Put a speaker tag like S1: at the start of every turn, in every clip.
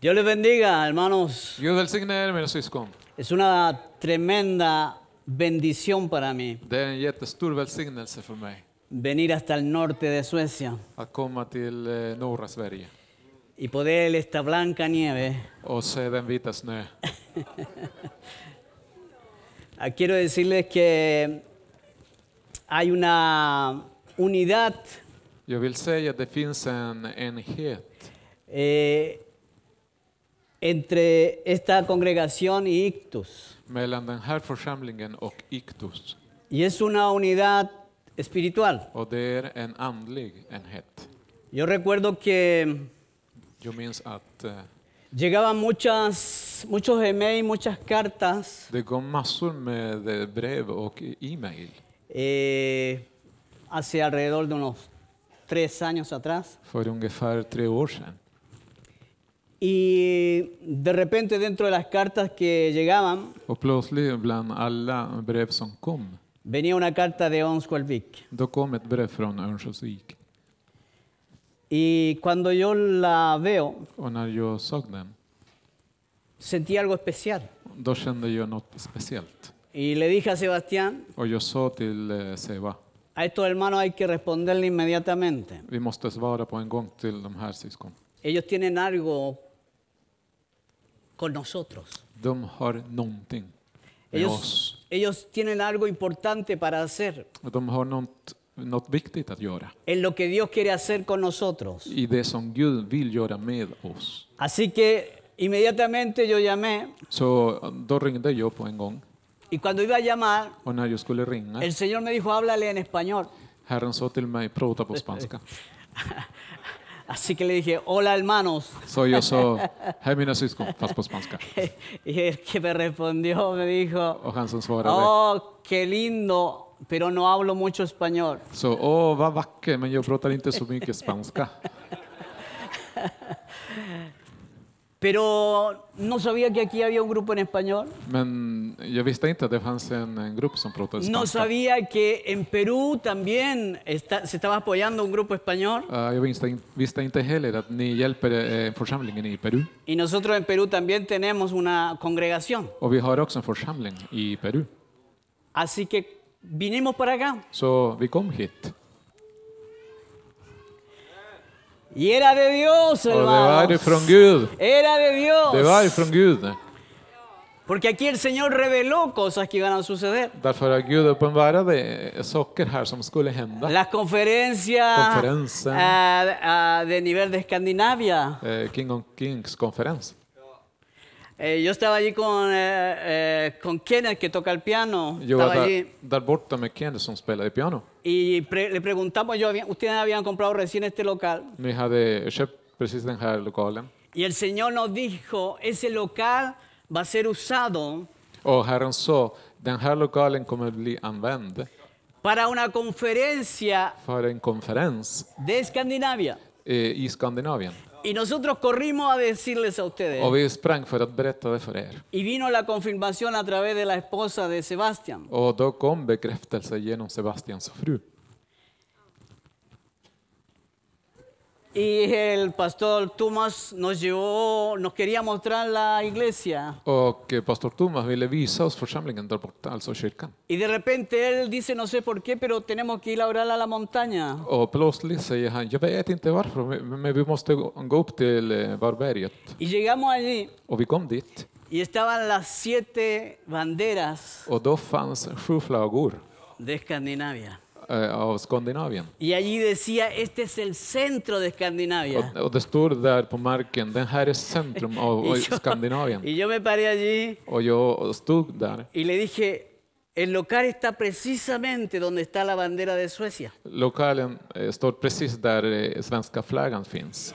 S1: Dios les bendiga, hermanos.
S2: Gud välsigne er mina syskon.
S1: Es una tremenda bendición para mí
S2: Det är en jättestor välsignelse för mig
S1: venir hasta el norte de Suecia
S2: att komma till eh, norra Sverige
S1: y poder esta blanca nieve.
S2: och se den vita snö.
S1: Ah, Quiero decirles que hay una unidad
S2: Jag vill säga att det finns en enhet
S1: eh, entre esta congregación y Ictus.
S2: mellan den här församlingen och Iktus.
S1: Y es una unidad espiritual.
S2: Och det är en andlig enhet.
S1: Yo recuerdo que
S2: Jag minns att eh,
S1: llegaban muchas, muchos emails, muchas cartas
S2: det går massor med eh, brev och e-mail.
S1: eh, hace alrededor de unos tres años atrás.
S2: För ungefär tre år sedan.
S1: Y de repente dentro de las cartas que llegaban
S2: Och plötsligt bland alla brev som kom,
S1: venía una carta de Onskualvik.
S2: då kom ett brev från Örnsköldsvik.
S1: Y cuando yo la veo,
S2: Och när jag såg den,
S1: sentí algo especial.
S2: då kände jag något speciellt.
S1: Y le dije a Sebastián,
S2: Och jag sa till eh, Seba,
S1: a estos hermanos hay que responderle inmediatamente.
S2: vi måste svara på en gång till de här syskon.
S1: Ellos tienen algo con nosotros.
S2: De har någonting med oss.
S1: Ellos, ellos tienen algo importante para hacer
S2: De har något, något viktigt att göra
S1: en lo que Dios quiere hacer con nosotros.
S2: i det som Gud vill göra med oss.
S1: Así que inmediatamente yo llamé
S2: Så eh, då ringde jag på en gång.
S1: y cuando iba a llamar,
S2: Och när jag skulle ringa,
S1: el Señor me dijo, háblale en español.
S2: Herren sa till mig, prata på spanska.
S1: Así que le dije, hola hermanos.
S2: Så jag sa, hej mina syskon, fast på spanska.
S1: Y el que me respondió me dijo,
S2: Och han som svarade,
S1: oh, qué lindo, pero no hablo mucho español.
S2: så åh vad vacker, men jag pratar inte så mycket spanska.
S1: Pero no sabía que aquí había un grupo en español.
S2: Men jag visste inte att det fanns en, en grupp som pratade
S1: No
S2: spanska.
S1: sabía que en Perú también está- se estaba apoyando un grupo español.
S2: Eh, jag visste, in- visste inte heller att ni hjälper eh, församlingen i Peru.
S1: Y nosotros en Perú también tenemos una congregación.
S2: Och vi har också en församling i Peru.
S1: Así que vinimos para acá.
S2: Så vi kom hit.
S1: Y era de Dios,
S2: Och det var
S1: hermano.
S2: ifrån Gud.
S1: Era de
S2: Det var
S1: Dios.
S2: ifrån Gud.
S1: Porque aquí el Señor reveló cosas que iban a suceder.
S2: Därför att Gud uppenbarade eh, saker här som skulle hända.
S1: Las conferencias
S2: Conferencia.
S1: ah, ah, de nivel de Escandinavia.
S2: Eh, King on Kings konferens.
S1: Eh, yo estaba allí con, eh, eh, con Kenneth, que toca el piano.
S2: Jag var
S1: estaba
S2: där,
S1: allí.
S2: där borta med Kenneth som spelade piano.
S1: Y pre- le preguntamos, yo, había- ustedes habían comprado recién este local.
S2: Ni hade köpt precis den här lokalen.
S1: Y el Señor nos dijo, ese local va a ser usado
S2: Och Herren sa, den här lokalen kommer bli använd
S1: para una conferencia
S2: för en konferens
S1: de Escandinavia.
S2: eh, i Skandinavien.
S1: Y nosotros corrimos a decirles a ustedes.
S2: Och vi sprang för att berätta det för er.
S1: Y vino la confirmación a través de la esposa de Sebastián.
S2: Och då kom bekräftelse genom Sebastians fru.
S1: Y el pastor Thomas nos llevó, nos quería mostrar la iglesia.
S2: Och eh, pastor Thomas ville visa oss församlingen där borta, alltså kyrkan.
S1: Y de repente él dice, no sé por qué, pero tenemos que ir a orar a la montaña.
S2: Och plötsligt säger han, jag vet inte varför, men men vi måste gå gå upp till eh, Varberget.
S1: Y llegamos allí
S2: Och vi kom dit.
S1: y estaban las siete banderas
S2: Och då fanns sju flaggor
S1: de Escandinavia.
S2: eh, av Skandinavien.
S1: Y allí decía, este es el centro de Escandinavia.
S2: Och, och det står där på marken, det här är centrum av av
S1: Y yo-
S2: Skandinavien.
S1: y yo me paré allí
S2: Och jag stod där.
S1: y le dije, el local está precisamente donde está la bandera de Suecia.
S2: Lokalen eh, står precis där eh, svenska flaggan finns.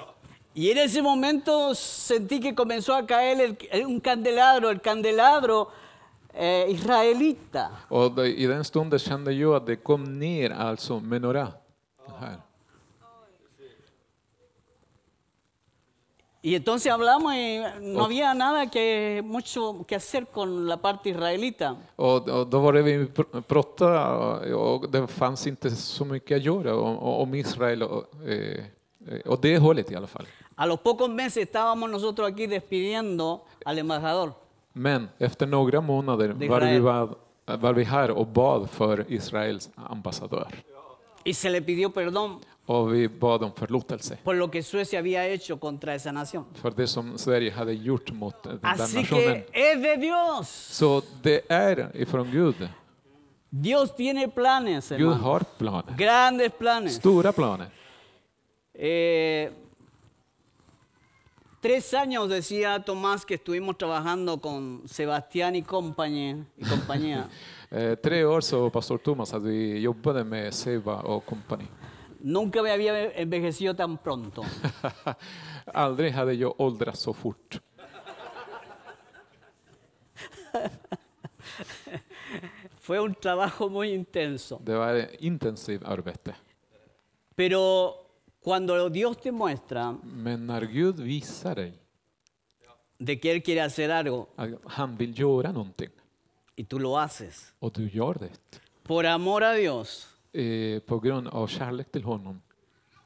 S1: Y en ese momento sentí que comenzó a caer el- el- un candelabro, el candelabro eh, israelita.
S2: Och då, i den stunden kände jag att det kom ner alltså menora. Här.
S1: Y entonces hablamos y no había nada que mucho que hacer con la parte israelita.
S2: Och, och då var det vi pr- pratade och det fanns inte så mycket att göra om, om Israel och, eh, eh, och eh, det hållet i alla fall.
S1: A los pocos meses estábamos nosotros aquí despidiendo al embajador.
S2: Men efter några månader var vi,
S1: Israel.
S2: var, var vi här och bad för Israels ambassadör.
S1: Y se le pidió perdón
S2: Och vi bad om förlåtelse
S1: por lo que Suecia había hecho contra esa nación.
S2: för det som Sverige hade gjort mot den där
S1: Así
S2: nationen.
S1: que es de Dios.
S2: Så det är ifrån Gud.
S1: Dios tiene planes,
S2: Gud
S1: hermano.
S2: har planer.
S1: Grandes planes.
S2: Stora planer.
S1: Eh, tres años decía Tomás que estuvimos trabajando con Sebastián y compañía. Y compañía.
S2: Eh, tre år så pastor Thomas att vi jobbade med Seva och kompani.
S1: Nunca me había envejecido tan pronto.
S2: Aldrig hade jag åldrats så fort.
S1: Fue un trabajo muy intenso.
S2: Det var ett intensivt arbete.
S1: Pero cuando Dios te muestra
S2: Men när Gud visar dig
S1: de que Él quiere hacer algo
S2: att han vill göra någonting
S1: y tú lo haces,
S2: och du gör det
S1: por amor a Dios,
S2: eh, på grund av kärlek till honom,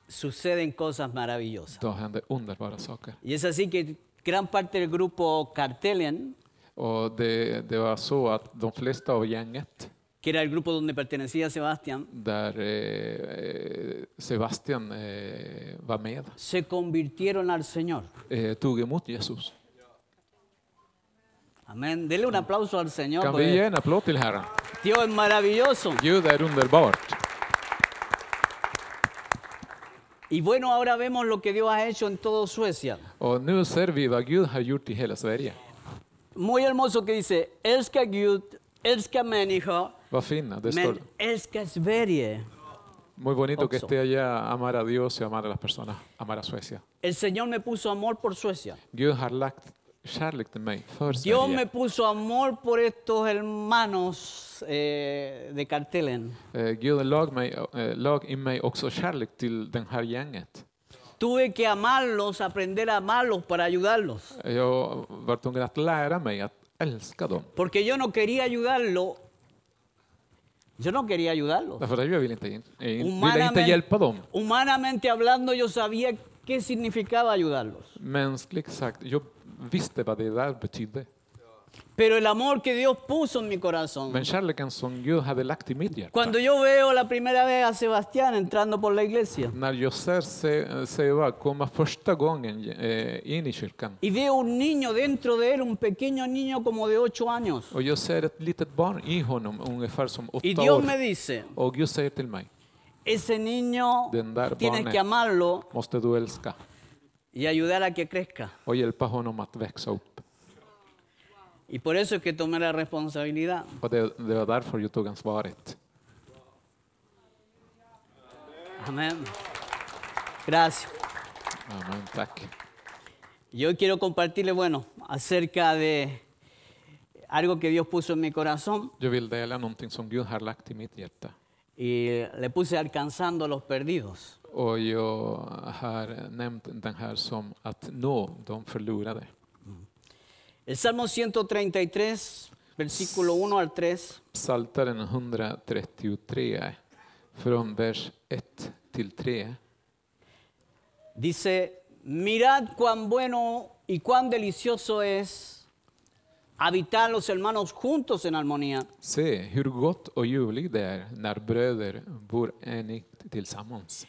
S1: suceden cosas maravillosas.
S2: då händer underbara saker.
S1: Y es así que gran parte del grupo Cartelian,
S2: Och det, det var så att de flesta av gänget
S1: que era el grupo donde pertenecía Sebastián,
S2: där eh, eh, Sebastian eh, var med
S1: se convirtieron al Señor.
S2: eh, tog emot Jesus.
S1: Amén. Dele un aplauso al Señor.
S2: Kan vi
S1: porque
S2: ge en applåd till Herren?
S1: Dios es maravilloso.
S2: Gud är underbart.
S1: Y bueno, ahora vemos lo que Dios ha hecho en todo Suecia.
S2: Och nu ser vi vad Gud har gjort i hela Sverige.
S1: Muy hermoso que dice, Elska Gud, Elska människa,
S2: Vad fina det står.
S1: men Elska Sverige.
S2: Muy bonito que
S1: Också.
S2: esté allá amar a Dios y amar a las personas, amar a Suecia.
S1: El Señor me puso amor por Suecia.
S2: Gud har lagt kärlek till mig för
S1: Dios me
S2: Sverige.
S1: puso amor por estos hermanos eh, de Cartelen.
S2: Eh, Gud lag, mig, eh, lag i mig också kärlek till den här gänget.
S1: Tuve que amarlos, aprender a amarlos para ayudarlos.
S2: Jag var tvungen att lära mig att älska dem.
S1: Porque yo no quería ayudarlo. Yo no quería ayudarlos.
S2: Därför att jag ville inte, eh, ville inte
S1: Humanamente,
S2: hjälpa dem.
S1: humanamente hablando, yo sabía qué significaba ayudarlos.
S2: Mänskligt sagt, jag visste vad det där betydde.
S1: Pero el amor que Dios puso en mi corazón.
S2: Men kärleken som Gud hade lagt i mitt hjärta.
S1: Cuando yo veo la primera vez a Sebastián entrando por la iglesia
S2: När jag ser Se- Seva komma första gången eh, in i kyrkan
S1: y veo un niño dentro de él, un pequeño niño como de 8 años,
S2: och jag ser ett litet barn i honom, ungefär som
S1: y
S2: åtta
S1: Dios me
S2: år.
S1: dice,
S2: Och Gud säger till mig,
S1: ese niño
S2: Den där
S1: tienes
S2: barnet.
S1: que amarlo
S2: måste du älska
S1: y ayudar a que crezca.
S2: och hjälpa honom att växa upp.
S1: Y por eso es que tomé la responsabilidad.
S2: Och det, det var därför jag tog ansvaret.
S1: Amén. Gracias.
S2: Amen, tack.
S1: Y hoy quiero compartirle, bueno, acerca de algo que Dios puso en mi corazón
S2: Jag vill dela någonting som Gud har lagt i mitt hjärta.
S1: y le puse alcanzando a los perdidos.
S2: Och jag har nämnt den här som att nå de förlorade.
S1: El Salmo 133, versículo 1 al 3,
S2: Psaltaren 133, från vers 1 till 3.
S1: dice, mirad cuán bueno y cuán delicioso es habitar los hermanos juntos en armonía.
S2: Se hur gott och ljuvligt det är när bröder bor enigt tillsammans.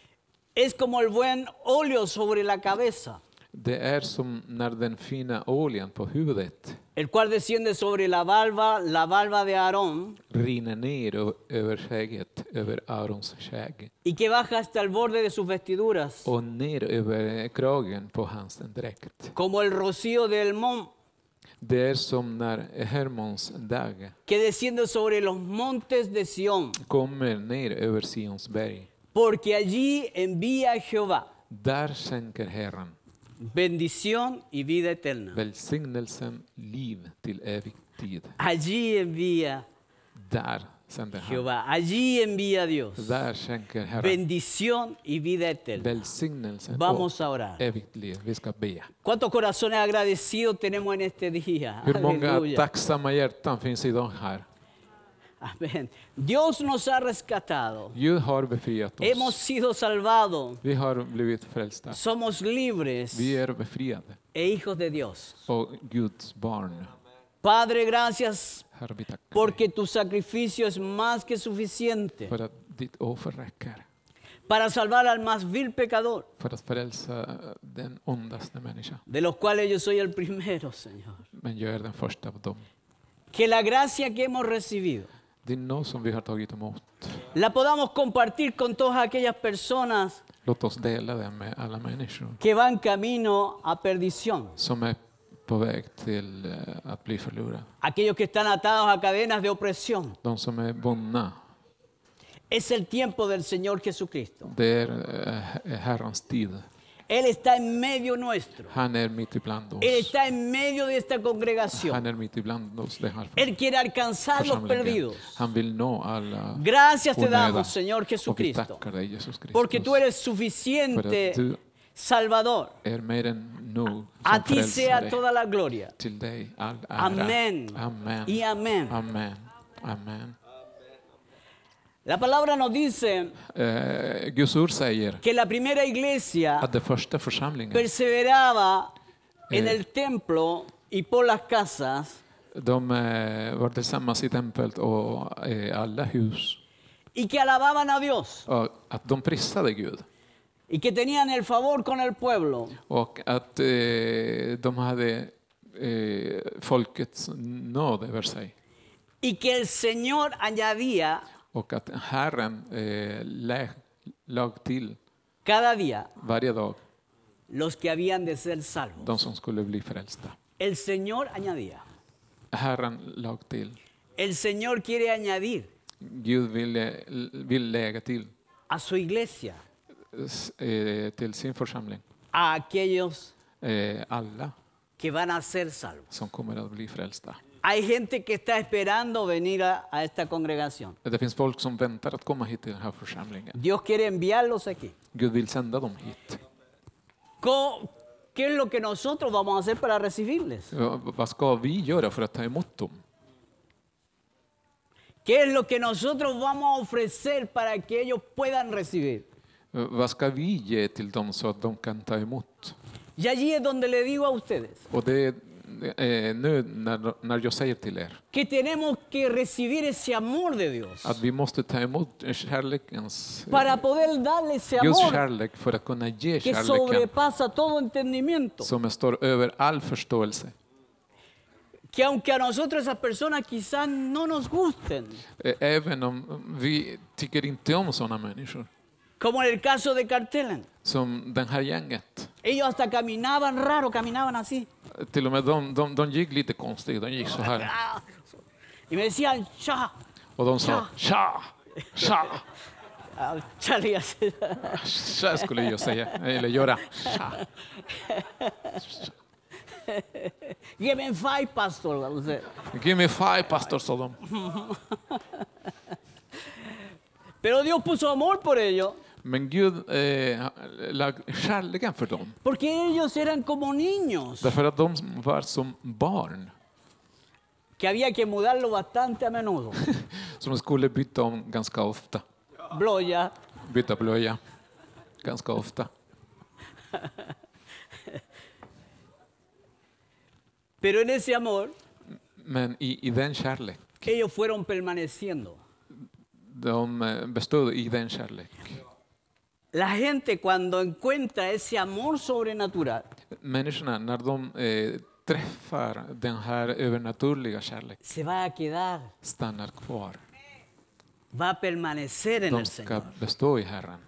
S1: Es como el buen óleo sobre la cabeza,
S2: Det är som när den fina oljan på huvudet
S1: el cual desciende sobre la barba, la barba de Aarón,
S2: rinner ner ö- över skägget, över Arons skägg
S1: y que baja hasta el borde de sus vestiduras.
S2: och ner över kragen på hans dräkt.
S1: como el rocío del monte
S2: Det är som när Hermons dag
S1: que desciende sobre los montes de Sión,
S2: kommer ner över Sions berg.
S1: porque allí envía Jehová
S2: Där skänker Herren
S1: bendición y vida eterna.
S2: välsignelsen liv till evig tid.
S1: Allí envía
S2: Där sänder han.
S1: Jehová, allí envía Dios
S2: Där skänker Herren
S1: bendición y vida eterna.
S2: välsignelsen
S1: Vamos
S2: och
S1: a orar.
S2: evigt liv. Vi ska be.
S1: ¿Cuántos corazones agradecidos tenemos en este día?
S2: Hur många
S1: Aleluya.
S2: tacksamma hjärtan finns idag här?
S1: Amén. Dios nos ha rescatado.
S2: Gud har befriat
S1: Hemos
S2: oss.
S1: sido salvados.
S2: Vi har blivit frälsta.
S1: Somos libres
S2: Vi är befriade
S1: e hijos de Dios.
S2: och Guds barn.
S1: Padre, gracias
S2: Herre, vi tackar dig
S1: porque tu sacrificio es más que suficiente
S2: för att ditt offer räcker
S1: para salvar al más vil pecador,
S2: för att frälsa den ondaste människan.
S1: de los cuales yo soy el primero, Señor.
S2: Men jag är den första av dem.
S1: Que la gracia que hemos recibido
S2: Din nåd som vi har tagit emot,
S1: la podamos compartir con todas aquellas personas
S2: låt oss dela den med alla människor
S1: que van camino a perdición,
S2: som är på väg till eh, att bli förlorade.
S1: aquellos que están atados a cadenas de opresión.
S2: De som är bundna,
S1: Es el tiempo del Señor Jesucristo.
S2: det är eh, Herrans tid.
S1: Él está en medio nuestro.
S2: Han är mitt ibland oss.
S1: Él está en medio de esta
S2: Han
S1: congregación.
S2: är mitt ibland oss, det här
S1: Él quiere alcanzar los
S2: församlingen.
S1: perdidos.
S2: Han vill nå alla
S1: Gracias te
S2: onöda.
S1: damos, Señor
S2: Och vi
S1: Jesucristo,
S2: tackar dig, Jesus Kristus.
S1: porque tú eres
S2: För att
S1: suficiente
S2: du
S1: Salvador.
S2: är mer än nog som
S1: A ti sea
S2: frälsare.
S1: toda la gloria.
S2: Till dig all ära.
S1: Amén.
S2: Amen.
S1: Y amén.
S2: Amen. Amen.
S1: La palabra nos dice
S2: Eh, Guds ord säger
S1: que la primera iglesia
S2: att den första församlingen,
S1: perseveraba en
S2: Ah, Eh.
S1: el templo y por las casas
S2: de eh, var tillsammans i templet och eh, i alla hus.
S1: y que alababan a Dios
S2: Och att de prisade Gud.
S1: y que tenían el favor con el pueblo.
S2: Och att eh, de hade eh, folkets nåd över sig.
S1: y que el Señor añadía
S2: Och att Herren eh, lä- lag till
S1: cada día
S2: varje dag
S1: los que habían de ser salvos.
S2: de som skulle bli frälsta.
S1: El Señor añadía.
S2: Herren lag till.
S1: El Señor quiere añadir
S2: Gud ville, vill lägga till,
S1: a su iglesia
S2: s- eh, till sin församling
S1: a aquellos
S2: eh, alla
S1: que van a ser salvos.
S2: som kommer att bli frälsta.
S1: Hay gente que está esperando venir a, a esta congregación.
S2: Det finns folk som väntar att komma hit till den här församlingen.
S1: Dios quiere enviarlos aquí.
S2: Gud vill sända dem hit.
S1: Co- ¿Qué es lo que nosotros vamos a hacer para recibirles?
S2: Va- Vad ska vi göra för att ta emot dem?
S1: ¿Qué es lo que nosotros vamos a ofrecer para que ellos puedan recibir?
S2: Eh, Vad ska vi ge till dem så att de kan ta emot?
S1: Y allí es donde le digo a ustedes
S2: Och det är eh, nu när, när jag säger till er
S1: que tenemos que recibir ese amor de Dios
S2: att vi måste ta emot kärlekens,
S1: para poder darle ese
S2: Guds
S1: amor
S2: kärlek för att kunna ge
S1: que
S2: kärleken
S1: sobrepasa todo entendimiento.
S2: som står över all förståelse.
S1: Que aunque a nosotros esas personas quizás no nos gusten,
S2: Eh, Även om vi tycker inte om sådana människor.
S1: como en el caso de Cartelen,
S2: Som den här gänget.
S1: ellos hasta caminaban raro, caminaban así.
S2: Eh, Till och med de, de, de gick lite konstigt, de gick så här.
S1: Ah. Y me decían, ya,
S2: Och de sa tja, tja,
S1: Ah, ya le iba a hacer.
S2: tja skulle jag säga, eller göra. Tja.
S1: Give me five, pastor. O sea,
S2: Give me five pastor, sa de.
S1: Pero Dios puso amor por ellos,
S2: Men Gud eh, la kärleken för dem.
S1: porque ellos eran como niños,
S2: Därför att de var som barn
S1: que había que mudarlo bastante a menudo.
S2: som skulle byta om ganska ofta.
S1: Bloya.
S2: Byta blöja ganska ofta.
S1: Pero en ese amor,
S2: Men i, i den kärlek,
S1: ellos fueron permaneciendo.
S2: de eh, bestod i den kärlek.
S1: La gente cuando encuentra ese amor sobrenatural,
S2: Människorna, när de eh, träffar den här övernaturliga kärleken,
S1: se va a quedar,
S2: stannar kvar.
S1: va a permanecer en
S2: De
S1: el
S2: ska
S1: Señor.
S2: bestå i Herren.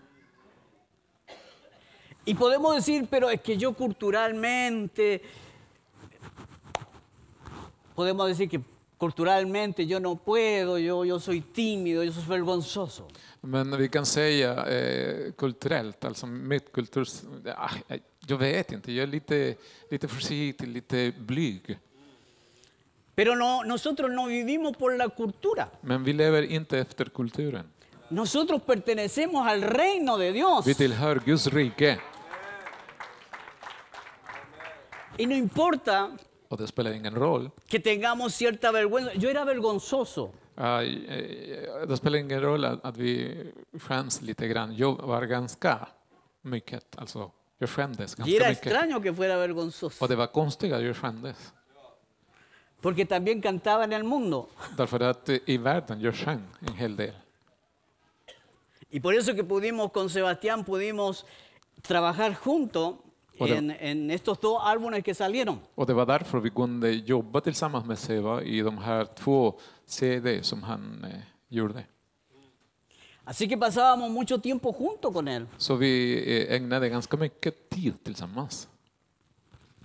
S1: Y podemos decir, pero es que yo culturalmente, podemos decir que culturalmente yo no puedo, yo, yo soy tímido, yo soy vergonzoso.
S2: Men vi kan säga eh, kulturellt, alltså mitt kultur... Ah, eh, jag vet inte, jag är lite, lite försiktig, lite blyg.
S1: Pero no, nosotros no vivimos por la cultura.
S2: Men vi lever inte efter kulturen.
S1: Nosotros pertenecemos al reino de Dios.
S2: Vi tillhör Guds rike.
S1: Y no importa
S2: Och det spelar ingen roll.
S1: que tengamos cierta vergüenza. Yo era vergonzoso.
S2: Ja, eh, det spelar ingen roll att, att vi skäms lite grann. Jag var ganska mycket, alltså jag skämdes
S1: Y era
S2: ganska mycket.
S1: extraño que fuera
S2: Och
S1: vergonzoso.
S2: det var konstigt att jag skämdes.
S1: Porque también cantaba en el mundo.
S2: Därför att eh, i världen jag sjöng en hel del.
S1: Y por eso que pudimos, con Sebastián, pudimos trabajar juntos
S2: Bueno.
S1: en, en estos dos álbumes que salieron.
S2: Och det var därför vi kunde jobba tillsammans med Seva i de här två CD som han eh, gjorde.
S1: Así que pasábamos mucho tiempo junto con él.
S2: Så vi eh, ägnade ganska mycket tid tillsammans.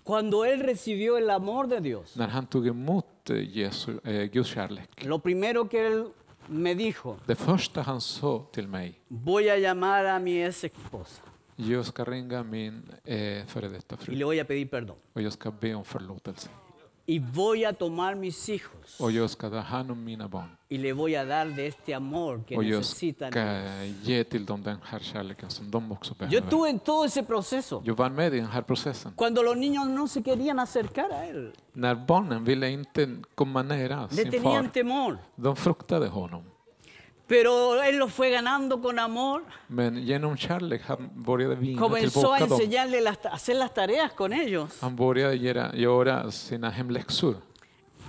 S1: Cuando él recibió el amor de Dios,
S2: När han tog emot eh, Jesu, eh, Guds kärlek,
S1: lo primero que él me dijo,
S2: det första han sa till mig,
S1: voy a llamar a mi ex esposa
S2: jag ska ringa min eh, före detta
S1: y
S2: fru
S1: le voy a pedir perdón.
S2: och jag ska be om förlåtelse.
S1: Y voy a tomar mis hijos
S2: Och jag ska ta hand om mina barn.
S1: y le voy a dar de este amor que
S2: Och jag
S1: necesitan.
S2: ska ge till dem den här kärleken som de också
S1: Yo
S2: behöver.
S1: estuve en todo ese proceso.
S2: Jag var med i den här processen.
S1: Cuando los niños no se querían acercar a él,
S2: När barnen ville inte komma nära
S1: le
S2: sin far,
S1: tenían temor.
S2: de fruktade honom.
S1: Pero él los fue ganando con amor.
S2: Men genom kärlek han började vinna
S1: Comenzó a
S2: tillbaka dem.
S1: enseñarle las, a hacer las tareas con ellos.
S2: Han började göra, göra sina hemläxor.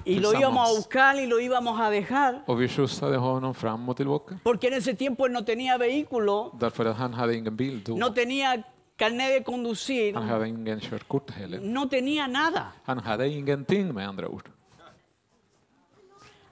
S1: Y lo
S2: Pensamos.
S1: íbamos a buscar y lo íbamos a dejar.
S2: Och vi skjutsade honom fram och tillbaka.
S1: Porque en ese tiempo él no tenía vehículo,
S2: Därför att han hade ingen bil då.
S1: no tenía carnet de conducir,
S2: Han hade ingen körkort heller.
S1: no tenía nada.
S2: Han hade ingenting med andra ord.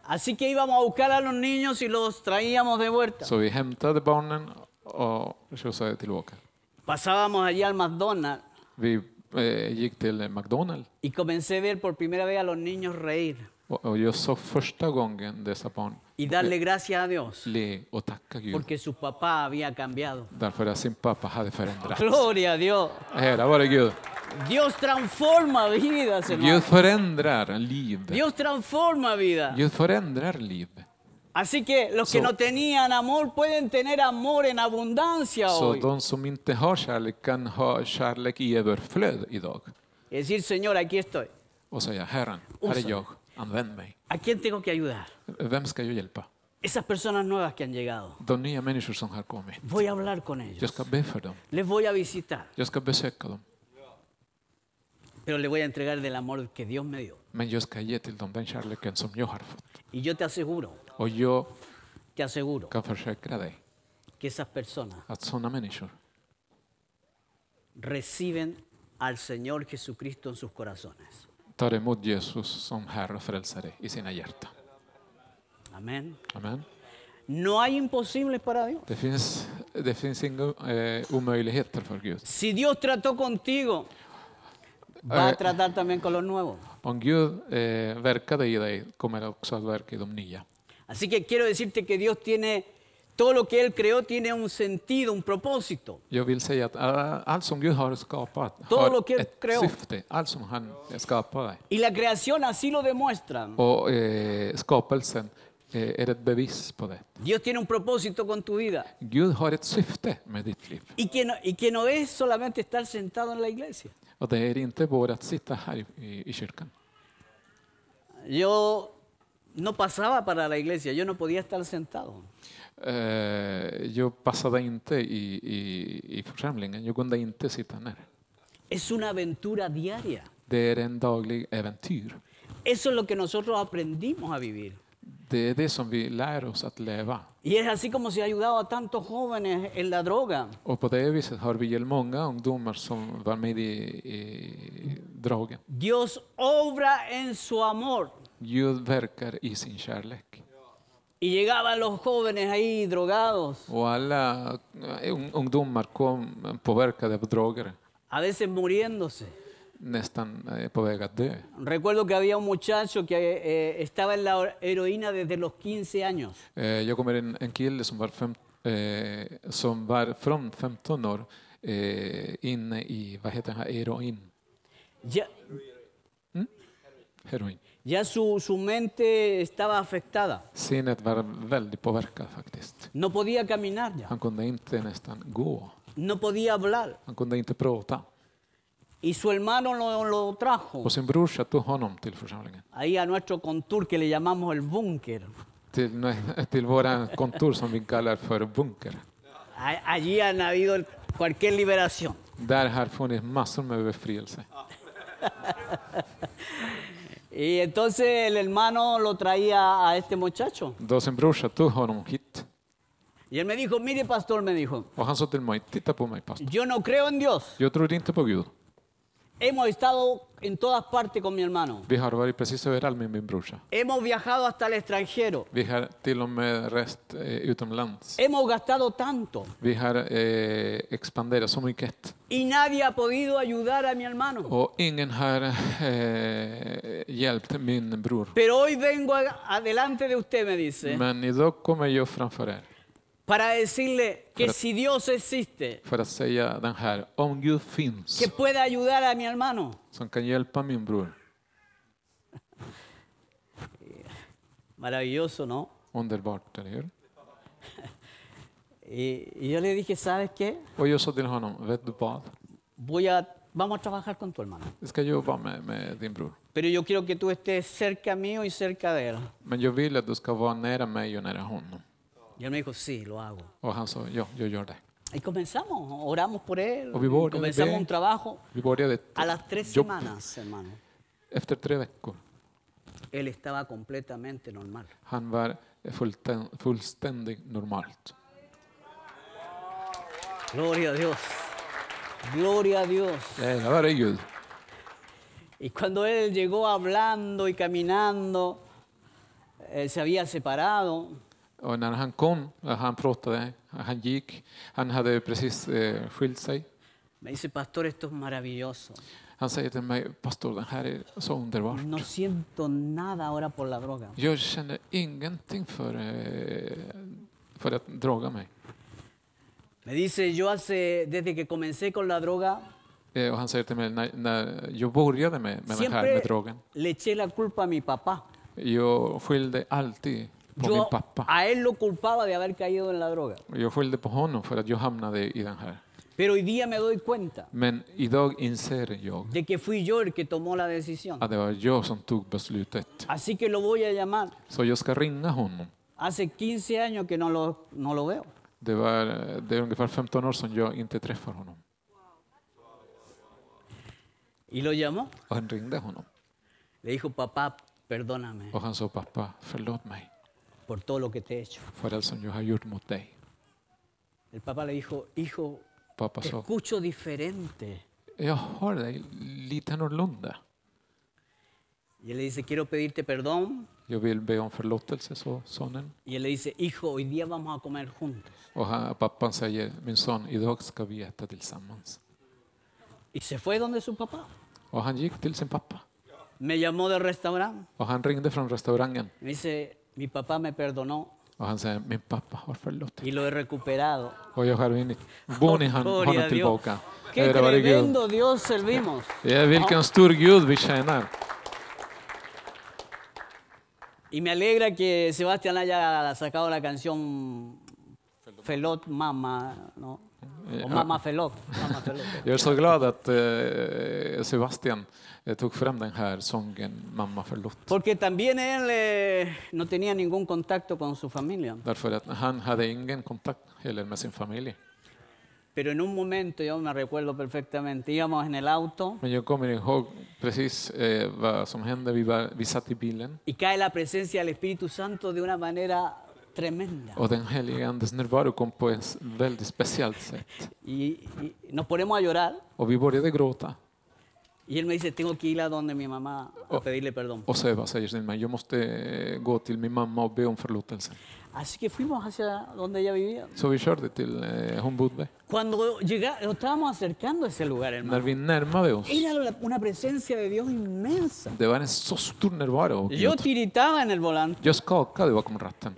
S1: Así que íbamos a buscar a los niños y los traíamos de vuelta.
S2: Så vi hämtade barnen och skjutsade tillbaka.
S1: Pasábamos allí al McDonald's
S2: Vi eh, gick till McDonalds
S1: y comencé a ver por primera vez a los niños reír
S2: och, och jag såg första gången dessa barn
S1: y darle gracias a Dios
S2: le och tacka Gud.
S1: porque su papá había cambiado.
S2: Därför att sin pappa hade förändrats.
S1: Gloria a Dios.
S2: Ära vare Gud.
S1: Dios transforma vidas, hermano.
S2: Gud förändrar liv.
S1: Dios transforma vidas.
S2: Gud förändrar liv.
S1: Así que los que
S2: So-
S1: no tenían amor pueden tener amor en abundancia
S2: Så
S1: hoy.
S2: de som inte har kärlek kan ha kärlek i överflöd idag.
S1: Y decir, Señor, aquí estoy.
S2: Och säga Herren, här är jag, använd mig.
S1: ¿A quién tengo que ayudar?
S2: Vem ska jag hjälpa?
S1: Esas personas nuevas que han llegado.
S2: De nya människor som har kommit.
S1: Voy a hablar con
S2: Jag
S1: ellos.
S2: ska be för dem.
S1: Les voy a visitar.
S2: Jag ska besöka dem.
S1: Pero les voy a entregar del amor que Dios me dio.
S2: Men jag ska ge till dem den kärleken som jag har fått.
S1: Y yo te aseguro,
S2: Och jag
S1: te aseguro
S2: kan försäkra dig
S1: que esas personas
S2: att sådana människor
S1: reciben al Señor Jesucristo en sus corazones.
S2: tar emot Jesus som Herre och Frälsare i sina hjärtan.
S1: Amén.
S2: Amen.
S1: No hay imposibles para Dios.
S2: Det finns, det finns inga eh, omöjligheter för Gud.
S1: Si Dios trató contigo, va a tratar también con los nuevos.
S2: Om Gud eh, verkade i dig kommer han också att verka i de nya.
S1: Así que quiero decirte que Dios tiene, todo lo que Él creó tiene un sentido, un propósito.
S2: Jag vill säga att eh, allt som Gud har skapat
S1: Todo lo que
S2: har
S1: él
S2: ett
S1: creó.
S2: syfte. Allt som han skapade.
S1: Y la creación así lo demuestra.
S2: Och eh, skapelsen eh, är ett bevis på det.
S1: Dios tiene un propósito con tu vida.
S2: Gud har ett syfte med ditt liv.
S1: Y que no, y que no es solamente estar sentado en la iglesia.
S2: Och det är inte bara att sitta här i, i, i kyrkan.
S1: Yo no pasaba para la iglesia, yo no podía estar sentado.
S2: Eh, jag passade inte i, i, i församlingen. Jag kunde inte sitta ner.
S1: Es una aventura diaria.
S2: Det är en daglig äventyr.
S1: Eso es lo que nosotros aprendimos a vivir.
S2: Det är det som vi lär oss att leva.
S1: Y es así como se ha ayudado a tantos jóvenes en la droga.
S2: Och på det viset har vi hjälpt många ungdomar som var med i, i dragen.
S1: Dios obra en su amor.
S2: Gud verkar i sin kärlek.
S1: Y llegaban los jóvenes ahí drogados.
S2: Och alla eh, un- ungdomar kom påverkade av droger,
S1: a veces muriéndose.
S2: nästan eh, på väg att dö.
S1: Recuerdo que había un muchacho que eh, estaba en la heroína desde los 15 años.
S2: Eh, Jag kommer en, en kille som var, fem, eh, som var från 15 år eh, inne i, vad heter det här, heroin.
S1: Ya,
S2: heroin.
S1: ya su, su mente estaba afectada.
S2: Sinnet var väldigt påverkat faktiskt.
S1: No podía caminar ya,
S2: Han kunde inte nästan gå.
S1: no podía hablar.
S2: Han kunde inte prata.
S1: Y su hermano lo, lo trajo
S2: Och sin brorsa tog honom till församlingen.
S1: ahí a nuestro contur que le llamamos el búnker.
S2: till, nä- till våra kontor som vi kallar för bunker.
S1: A- Allí han habido el- cualquier liberación.
S2: Där har funnits massor med befrielse.
S1: Y entonces el hermano lo traía a este muchacho.
S2: Då sin brorsa tog honom hit
S1: Y él me dijo, mire pastor, me dijo,
S2: och han sa till mig, titta på mig pastor.
S1: yo no creo en Dios.
S2: Jag tror inte på Gud.
S1: Hemos estado en todas partes con mi hermano.
S2: Vi har varit precis överallt med min brorsa.
S1: Hemos viajado hasta el extranjero.
S2: Vi har till och med rest eh, utomlands.
S1: Hemos gastado tanto.
S2: Vi har eh, expanderat så mycket.
S1: Y nadie ha podido ayudar a mi hermano.
S2: Och ingen har eh, hjälpt min bror.
S1: Pero hoy vengo a- adelante de usted, me dice,
S2: Men idag kommer jag framför er
S1: para decirle que
S2: Pero-
S1: si Dios existe,
S2: för att säga den här, om Gud
S1: que
S2: finns
S1: pueda ayudar a mi hermano.
S2: som kan hjälpa min bror.
S1: Maravilloso, ¿no?
S2: Underbart, eller hur?
S1: Y, y yo le dije, ¿sabes qué?
S2: Och jag sa till honom, vet du vad?
S1: Voy a, vamos a trabajar con tu hermano.
S2: Jag ska jobba med, med din bror.
S1: Pero yo quiero que tú estés cerca mío y cerca de él.
S2: Men jag vill att du ska vara nära mig och nära honom.
S1: Y él me dijo, sí, lo hago.
S2: Och han sa, ja, jag gör det.
S1: Y comenzamos, oramos por él,
S2: Obvio, obvio,
S1: comenzamos
S2: obvio.
S1: un trabajo.
S2: Vi började ett
S1: A las tres
S2: jobb.
S1: semanas, hermano,
S2: Efter tre veckor.
S1: él estaba completamente normal.
S2: Han var fulltän- fullständigt normalt.
S1: Gloria a Dios. Gloria a Dios.
S2: Ära är Gud.
S1: Y cuando él llegó hablando y caminando, eh, se había separado.
S2: Och när han kom, när han pratade, han gick, han hade precis eh, skilt sig.
S1: Me dice, pastor, esto es maravilloso.
S2: Han säger till mig, pastor den här är så underbart.
S1: No siento nada ahora por la droga.
S2: Jag känner ingenting för, eh, för att droga mig.
S1: Me dice, yo hace, desde que comencé con la droga,
S2: Eh, och han säger till mig, när, när jag började med, med den här
S1: siempre
S2: med drogen,
S1: le eché la culpa a mi papá.
S2: jag skyllde alltid på min
S1: Yo
S2: pappa.
S1: a él lo culpaba de haber caído en la droga.
S2: Jag skyllde på honom för att jag hamnade i den här.
S1: Pero hoy día me doy cuenta
S2: Men idag inser jag
S1: de que fui yo el que tomó la decisión.
S2: att det var jag som tog beslutet.
S1: Así que lo voy a llamar.
S2: Så jag ska ringa honom.
S1: Hace 15 años que no lo, no lo veo.
S2: Det, var, det är ungefär 15 år sedan jag inte träffar honom.
S1: Y lo llamó.
S2: Och han ringde honom.
S1: Le dijo, papá, perdóname
S2: Och han sa, pappa, förlåt mig
S1: por todo lo que te he hecho.
S2: för allt som jag har gjort mot dig.
S1: El papá le dijo, hijo,
S2: Pappa
S1: te
S2: sa,
S1: escucho diferente.
S2: jag har dig lite annorlunda.
S1: Y él le dice, quiero pedirte perdón.
S2: Jag vill be om förlåtelse, sa sonen.
S1: Y él le dice, hijo, hoy día vamos a comer juntos.
S2: Och han, pappan säger, min son, idag ska vi äta tillsammans.
S1: Y se fue donde su papá.
S2: Och han gick till sin pappa.
S1: Me llamó del restaurante.
S2: Och han ringde från restaurangen.
S1: Me dice, mi papá me perdonó
S2: Och han säger, min pappa har förlåtit
S1: y lo he recuperado.
S2: Och jag har vunnit. Vunnit han,
S1: Gloria
S2: honom
S1: a Dios.
S2: tillbaka.
S1: Qué
S2: Ära vare Gud.
S1: tremendo Dios servimos.
S2: Ja, vilken stor Gud vi tjänar.
S1: Y me alegra que Sebastián haya sacado la canción Felot Mama, ¿no? O Mama Felot. Mama Felot.
S2: Jag är så glad att eh, Sebastian eh, tog fram den här sången Mamma förlåt.
S1: Porque también él eh, no tenía ningún contacto con su familia.
S2: Därför att han hade ingen kontakt heller med sin familj.
S1: Pero en un momento, yo me recuerdo perfectamente, íbamos en el auto
S2: Men jag kommer ihåg precis eh, vad som hände. Vi, var, vi satt i bilen
S1: y cae la presencia del Espíritu Santo de una manera tremenda.
S2: och den helige Andes närvaro kom på ett väldigt speciellt sätt.
S1: Y, y nos ponemos a llorar
S2: Och vi började gråta.
S1: y él me dice, tengo que ir a donde mi mamá a pedirle perdón.
S2: Och Seba säger till mig, jag måste eh, gå till min mamma och be om förlåtelse.
S1: Así que fuimos hacia donde ella vivía.
S2: Så vi körde till eh, hon bodde.
S1: Cuando llega- nos estábamos acercando a ese lugar,
S2: När
S1: hermano,
S2: vi närmade oss,
S1: era la- una presencia de Dios inmensa.
S2: det var en så stor närvaro. av
S1: Yo
S2: Gud.
S1: tiritaba en el volante
S2: Jag skakade bakom ratten.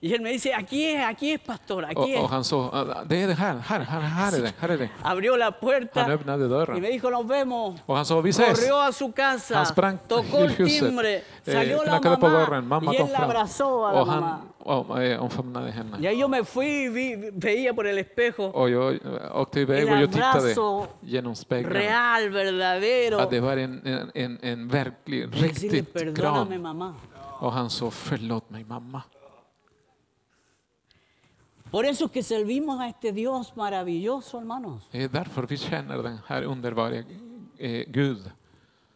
S1: y él me dice, aquí es, aquí es, pastor, aquí
S2: Och,
S1: es.
S2: och han sa, "Ah, det är det här, här, här, här är det, här är det.
S1: Abrió la
S2: Han
S1: puerta
S2: öppnade
S1: y me
S2: dörren.
S1: dijo, nos vemos.
S2: Och han sa, vi ses.
S1: Corrió a su casa,
S2: Han sprang
S1: tocó el
S2: till huset,
S1: timbre,
S2: eh,
S1: salió la
S2: knackade på
S1: mamá
S2: dörren, mamma
S1: y
S2: kom
S1: él la
S2: fram.
S1: abrazó a la
S2: Och han,
S1: mamá.
S2: om- eh, omfamnade henne.
S1: Y ahí yo me fui y vi- veía por el espejo
S2: Och jag eh, åkte iväg och jag tittade
S1: abrazo
S2: genom spegeln.
S1: real, verdadero.
S2: Att det var en, en, en, en verklig,
S1: Decirle,
S2: riktig
S1: perdóname,
S2: kram.
S1: mamá.
S2: Och han sa förlåt mig mamma.
S1: Por eso es que servimos a este Dios maravilloso, hermanos.
S2: Det är därför vi känner den här underbara eh, Gud.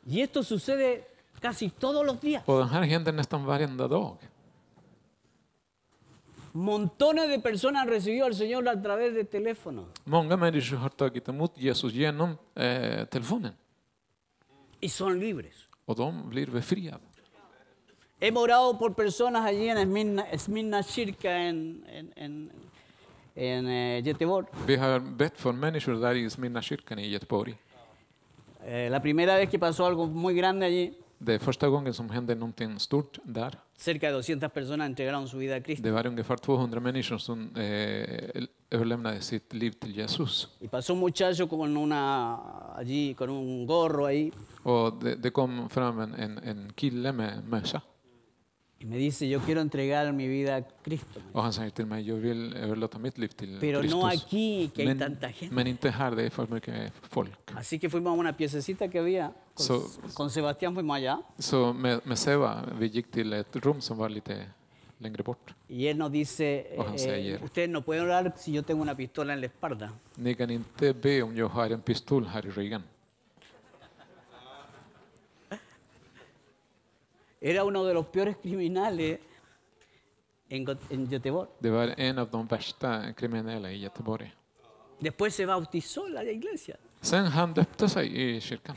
S1: Y esto sucede casi todos los días.
S2: Och den här händer nästan varenda dag.
S1: Montones de personas han recibido al Señor a través de teléfono.
S2: Många människor har tagit emot Jesus genom eh, telefonen
S1: Y son libres.
S2: och de blir befriade.
S1: Hemos orado por personas allí en Esmirna, Esmirna Shirka, en, en, en, en, eh, Göteborg.
S2: Vi har bett för människor där i Smyrna kyrkan i Göteborg.
S1: Eh, la primera vez que pasó algo muy grande allí,
S2: Det är första gången som hände någonting stort där.
S1: cerca de 200 personas entregaron su vida a Cristo.
S2: Det var ungefär 200 människor som eh, överlämnade sitt liv till Jesus.
S1: Y pasó un muchacho con una, allí con un gorro ahí
S2: Och det, det kom fram en, en, en kille med mössa
S1: y me dice, yo quiero entregar mi vida a Cristo.
S2: och han säger till mig, jag vill överlåta mitt liv till
S1: Pero no
S2: Kristus.
S1: aquí, que hay
S2: Men,
S1: tanta gente.
S2: men inte här, det är för mycket folk.
S1: Así que fuimos a una piececita que había. Con,
S2: So-
S1: con Sebastián fuimos allá
S2: Så med, med Seva, vi gick till ett rum som var lite längre bort.
S1: y él nos dice,
S2: Ojalá sea
S1: eh,
S2: ayer.
S1: ustedes no pueden orar si yo tengo una pistola en la espalda.
S2: Ni kan inte be om jag har en pistol här i ryggen.
S1: Era uno de los peores criminales en, Got- en Göteborg.
S2: Det var en av de värsta kriminella i Göteborg.
S1: Después se bautizó en la iglesia.
S2: Sen han döpte sig i kyrkan.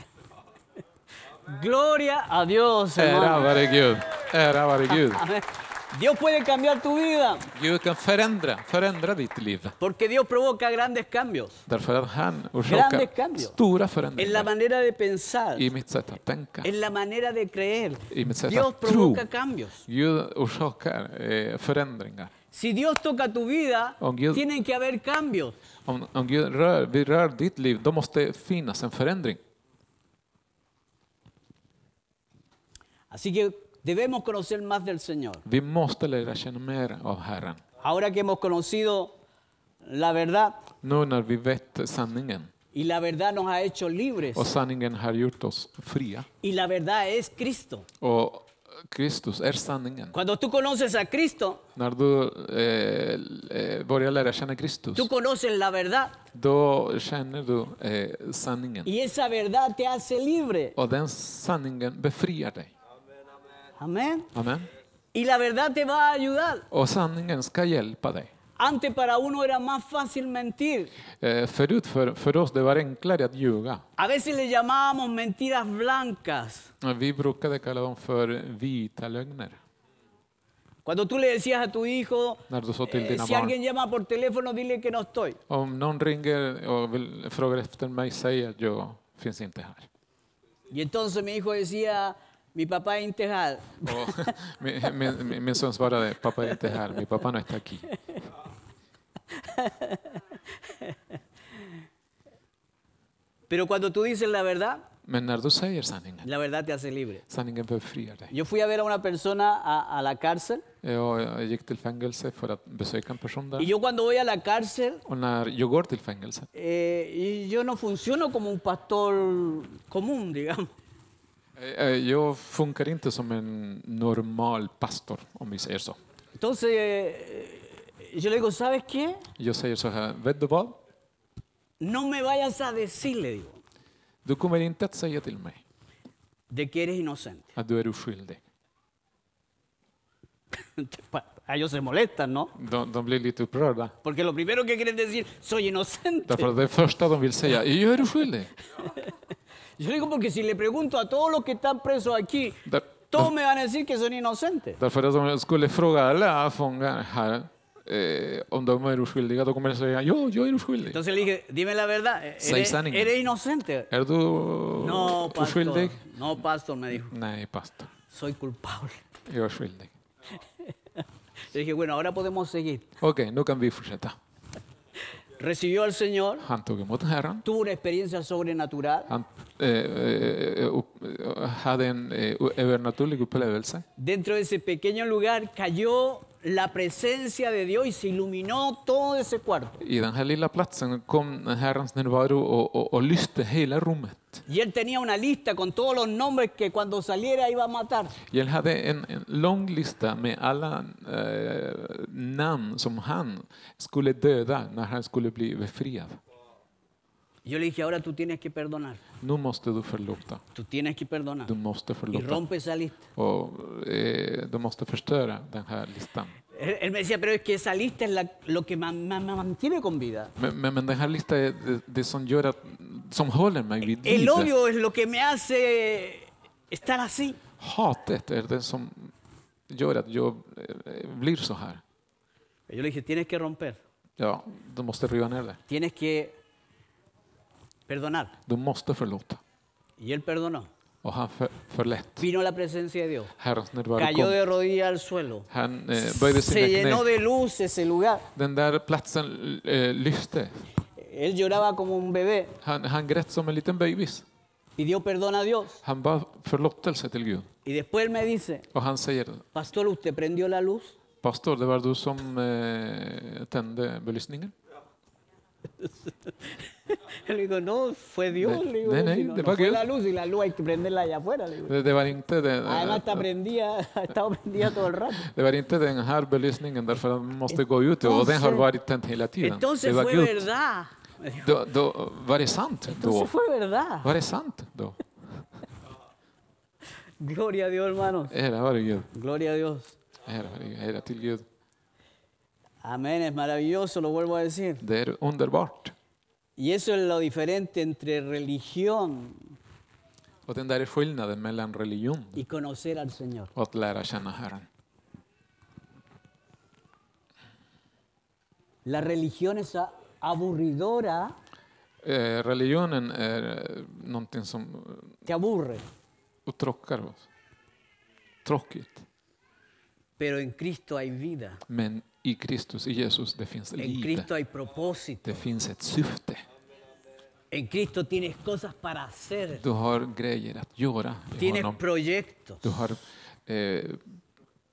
S1: Gloria a Dios,
S2: Ära
S1: hermano.
S2: vare Gud. Ära vare Gud.
S1: Amén. Dios puede cambiar tu vida
S2: Gud kan förändra, förändra ditt liv.
S1: porque Dios provoca grandes cambios
S2: Därför att han
S1: Grande
S2: orsakar
S1: cambio.
S2: stora
S1: en la
S2: förändringar
S1: manera de pensar,
S2: i mitt sätt att tänka.
S1: en la manera de creer.
S2: Y me-
S1: Dios
S2: true.
S1: provoca cambios.
S2: Gud orsakar eh, förändringar.
S1: Si Dios toca tu vida,
S2: Om Gud-
S1: tienen que haber cambios.
S2: Om, om Gud rör, vi rör ditt liv, då måste finnas en förändring.
S1: Así que debemos conocer más del Señor.
S2: Vi måste lära känna mer av Herren.
S1: Ahora que hemos conocido la verdad
S2: Nu när vi vet sanningen,
S1: y la verdad nos ha hecho libres
S2: och sanningen har gjort oss fria,
S1: y la verdad es Cristo.
S2: och Kristus är sanningen.
S1: Cuando tú conoces a Cristo,
S2: När du eh, eh, börjar lära känna Kristus,
S1: tú conoces la verdad
S2: då känner du eh, sanningen.
S1: y esa verdad te hace libre.
S2: Och den sanningen befriar dig.
S1: Amén.
S2: Amen.
S1: Y la verdad te va a ayudar.
S2: Och sanningen ska hjälpa dig.
S1: Antes para uno era más fácil mentir.
S2: Eh, förut för, för oss det var enklare att ljuga.
S1: A veces le llamábamos mentiras blancas.
S2: Men Vi brukade kalla dem för vita lögner.
S1: Cuando tú le decías a tu hijo,
S2: När du sa till
S1: eh,
S2: dina
S1: si alguien
S2: barn,
S1: llama por teléfono, dile que no estoy.
S2: om någon ringer och vill, frågar efter mig, säg att jag finns inte här.
S1: Y entonces mi hijo decía, mi papá es Intejal.
S2: Och min, min, min- min son svarade, pappa är inte här, min pappa är inte här.
S1: Pero cuando tú dices la verdad,
S2: Men när du säger sanningen,
S1: la verdad te hace libre.
S2: sanningen befriar dig.
S1: Yo fui a ver a una persona a, a la cárcel
S2: Jag, jag gick till fängelse för att besöka en person
S1: y
S2: där.
S1: yo cuando voy a la cárcel,
S2: Och när jag går till fängelse,
S1: eh, y yo no funciono como un pastor común, digamos.
S2: eh, eh, jag funkar inte som en normal pastor, om vi säger så.
S1: Entonces eh, yo le digo, ¿sabes qué?
S2: Jag säger så här, vet du vad?
S1: No me vayas a decir, le digo,
S2: Du kommer inte att säga till mig
S1: de que eres inocente.
S2: att du är oskyldig.
S1: a ellos se molestan, ¿no?
S2: De, de blir lite upprörda.
S1: Porque lo primero que quieren decir, soy inocente.
S2: Därför att det första de vill säga är jag är oskyldig.
S1: Yo digo, porque si le pregunto a todos los que están presos aquí,
S2: Där,
S1: todos me van a decir que son inocentes.
S2: därför att om jag skulle fråga alla fångar här eh, om de är oskyldiga, då kommer de säga ja, jag är oskyldig.
S1: Entonces le dije, dime la verdad, eh,
S2: Seis Uh,
S1: ¿eres,
S2: años.
S1: eres inocente?
S2: Är du
S1: No, pastor.
S2: oskyldig?
S1: No, pastor, me dijo,
S2: Nej, pastor.
S1: soy culpable.
S2: Jag är skyldig.
S1: Le dije, bueno, ahora podemos seguir.
S2: Okej, nu kan vi fortsätta.
S1: Recibió al Señor,
S2: Han tog emot Herren.
S1: tuvo una experiencia sobrenatural.
S2: Han eh, eh, upp, hade en eh, övernaturlig upplevelse.
S1: Dentro de ese pequeño lugar cayó la presencia de Dios y se iluminó todo ese cuarto.
S2: I den här lilla platsen kom Herrens närvaro och, och, och lyste hela rummet.
S1: Y él tenía una lista con todos los nombres que cuando saliera iba a matar.
S2: Jag hade en, en lång lista med alla eh, namn som han skulle döda när han skulle bli befriad.
S1: Yo le dije, ahora tú tienes que perdonar.
S2: Nu måste du förlåta.
S1: Tú tienes que perdonar.
S2: Du måste
S1: Y
S2: förlåta.
S1: rompe esa lista.
S2: Och, eh, du måste förstöra den här listan.
S1: Él, él me decía, pero es que esa lista es la- lo que ma- ma- ma- mantiene con vida.
S2: Men, men, men den här listan är det, det som gör att, som håller mig vid
S1: El
S2: liv.
S1: odio es lo que me hace estar así.
S2: Hatet är det som gör att jag eh, blir så här.
S1: Yo le dije, tienes que romper.
S2: Ja, du måste riva ner det.
S1: Tienes que perdonar.
S2: Du måste förlåta.
S1: Y él perdonó.
S2: Och han för, förlät.
S1: Vino la presencia de Dios.
S2: Herrens närvaro
S1: Cayó
S2: kom.
S1: de rodillas al suelo.
S2: Han eh, böjde sina
S1: Se llenó
S2: knän.
S1: de luz ese lugar.
S2: Den där platsen eh, lyste.
S1: Él lloraba como un bebé.
S2: Han, han grät som en liten bebis.
S1: Pidió perdón a Dios.
S2: Han bad förlåtelse till Gud.
S1: Y después él me dice,
S2: Och han säger,
S1: pastor, ¿usted prendió la luz?
S2: pastor, det var du som eh, tände belysningen?
S1: Le digo, no, fue Dios.
S2: De-
S1: Le digo,
S2: de-
S1: "Si
S2: de-
S1: no,
S2: de-
S1: no fue
S2: de-
S1: la luz y la luz hay que prenderla allá afuera. le digo.
S2: Det, det var inte den,
S1: Además está prendida, ha estado prendida todo el rato.
S2: det var inte den här belysningen därför att man måste gå ut och den har varit tänd hela tiden. Det
S1: Entonces
S2: var
S1: fue
S2: Gud.
S1: verdad.
S2: Då, då, var det sant då?
S1: Entonces fue verdad.
S2: Var det sant då?
S1: Gloria a Dios, hermanos.
S2: Ära vare Gud.
S1: Gloria a Dios.
S2: Ära, vare Gud. Ära till Gud.
S1: Amén, es maravilloso, lo vuelvo a decir.
S2: Det är underbart.
S1: Y eso es lo diferente entre religión
S2: Och den där är skillnaden mellan religion
S1: y conocer al Señor.
S2: och att lära känna Herren.
S1: La religión es a- aburridora,
S2: Eh, religionen är eh, någonting som eh,
S1: te aburre,
S2: uttråkar oss. Tråkigt.
S1: pero en Cristo hay vida,
S2: Men i Kristus, i Jesus, det finns
S1: en
S2: liv.
S1: Cristo hay propósito,
S2: Det finns ett syfte.
S1: en Cristo tienes cosas para hacer,
S2: Du har grejer att göra i
S1: tienes
S2: honom.
S1: proyectos
S2: Du har eh,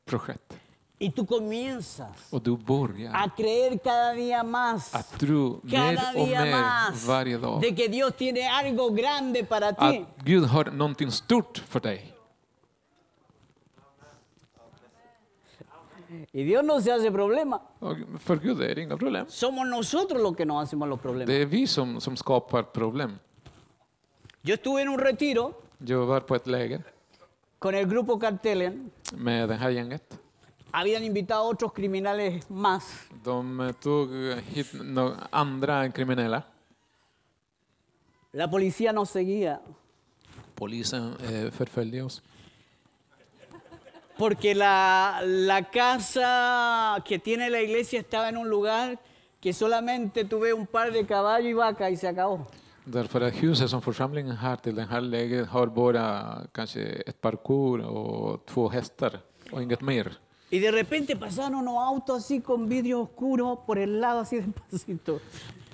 S2: projekt.
S1: y tú comienzas
S2: Och du börjar
S1: a creer cada día más.
S2: att tro mer
S1: Cada
S2: och
S1: día
S2: mer
S1: más
S2: varje dag.
S1: de que Dios tiene algo grande para ti.
S2: Att Gud har någonting stort för dig.
S1: Y Dios no se hace problema.
S2: Och för Gud är det inga problem.
S1: Somos nosotros los que nos hacemos los problemas.
S2: Det är vi som, som skapar problem.
S1: Yo estuve en un retiro
S2: Jag var på ett läger
S1: con el grupo Cartelen.
S2: med det här gänget.
S1: Habían invitado a otros criminales más.
S2: De eh, tog hit no- andra kriminella.
S1: La policía nos seguía
S2: Polisen eh, förföljde oss.
S1: porque la, la casa que tiene la iglesia estaba en un lugar que solamente tuve un par de caballos y vaca y se acabó.
S2: Därför att huset som församlingen har till det här läget har bara kanske ett par kor och två hästar och inget mer.
S1: Y de repente pasaron unos autos así con vidrio oscuro por el lado así despacito.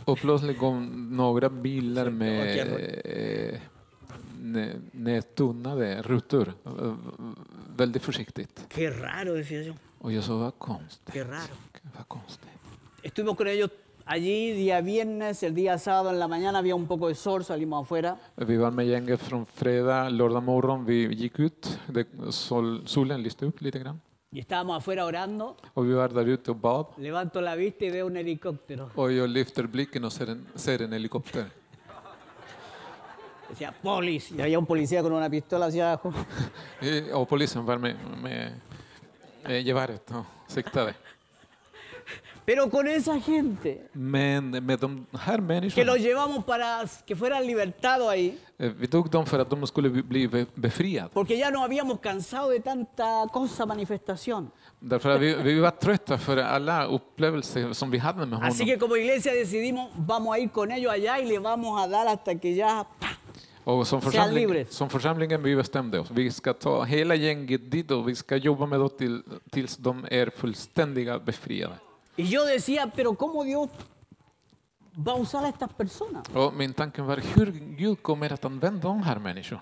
S2: Och plötsligt kom några bilar med
S1: okej,
S2: eh, nä- nättunnade rutor. Eh, Väldigt försiktigt.
S1: Qué raro, decía yo.
S2: Och jag sa, vad konstigt.
S1: Qué raro.
S2: Vad konstigt.
S1: Estuvimos con ellos allí día viernes, el día sábado en la mañana había un poco de sol, salimos afuera.
S2: Vi var med gänget från fredag, lördag morgon. Vi gick ut, det, sol, solen lyste upp lite grann.
S1: Y estábamos afuera orando.
S2: Och vi var där ute och bad.
S1: Levanto la vista y veo un helicóptero.
S2: Och jag lyfter blicken och ser en, ser en helikopter.
S1: Decía, polis. Y había un policía con una pistola hacia abajo.
S2: Eh, Och polisen var med, med, med geväret och siktade.
S1: Pero con esa gente,
S2: Men med de här
S1: que
S2: människorna,
S1: los llevamos para que fueran libertados ahí,
S2: eh, vi tog dem för att de skulle bli- bli be- befriade.
S1: porque ya nos habíamos cansado de tanta cosa, manifestación.
S2: Därför att vi, vi var trötta för alla upplevelser som vi hade med
S1: Así
S2: honom.
S1: que como iglesia decidimos, vamos a ir con ellos allá y le vamos a dar hasta que ya... ¡pa!
S2: Och som,
S1: Sean
S2: församling,
S1: libres.
S2: som församlingen vi bestämde oss, vi ska ta hela gänget dit och vi ska jobba med dem till, tills de är fullständiga befriade.
S1: Y yo decía, pero ¿cómo Dios va a usar a estas personas?
S2: Och min tanke var hur Gud kommer att använda de här människorna.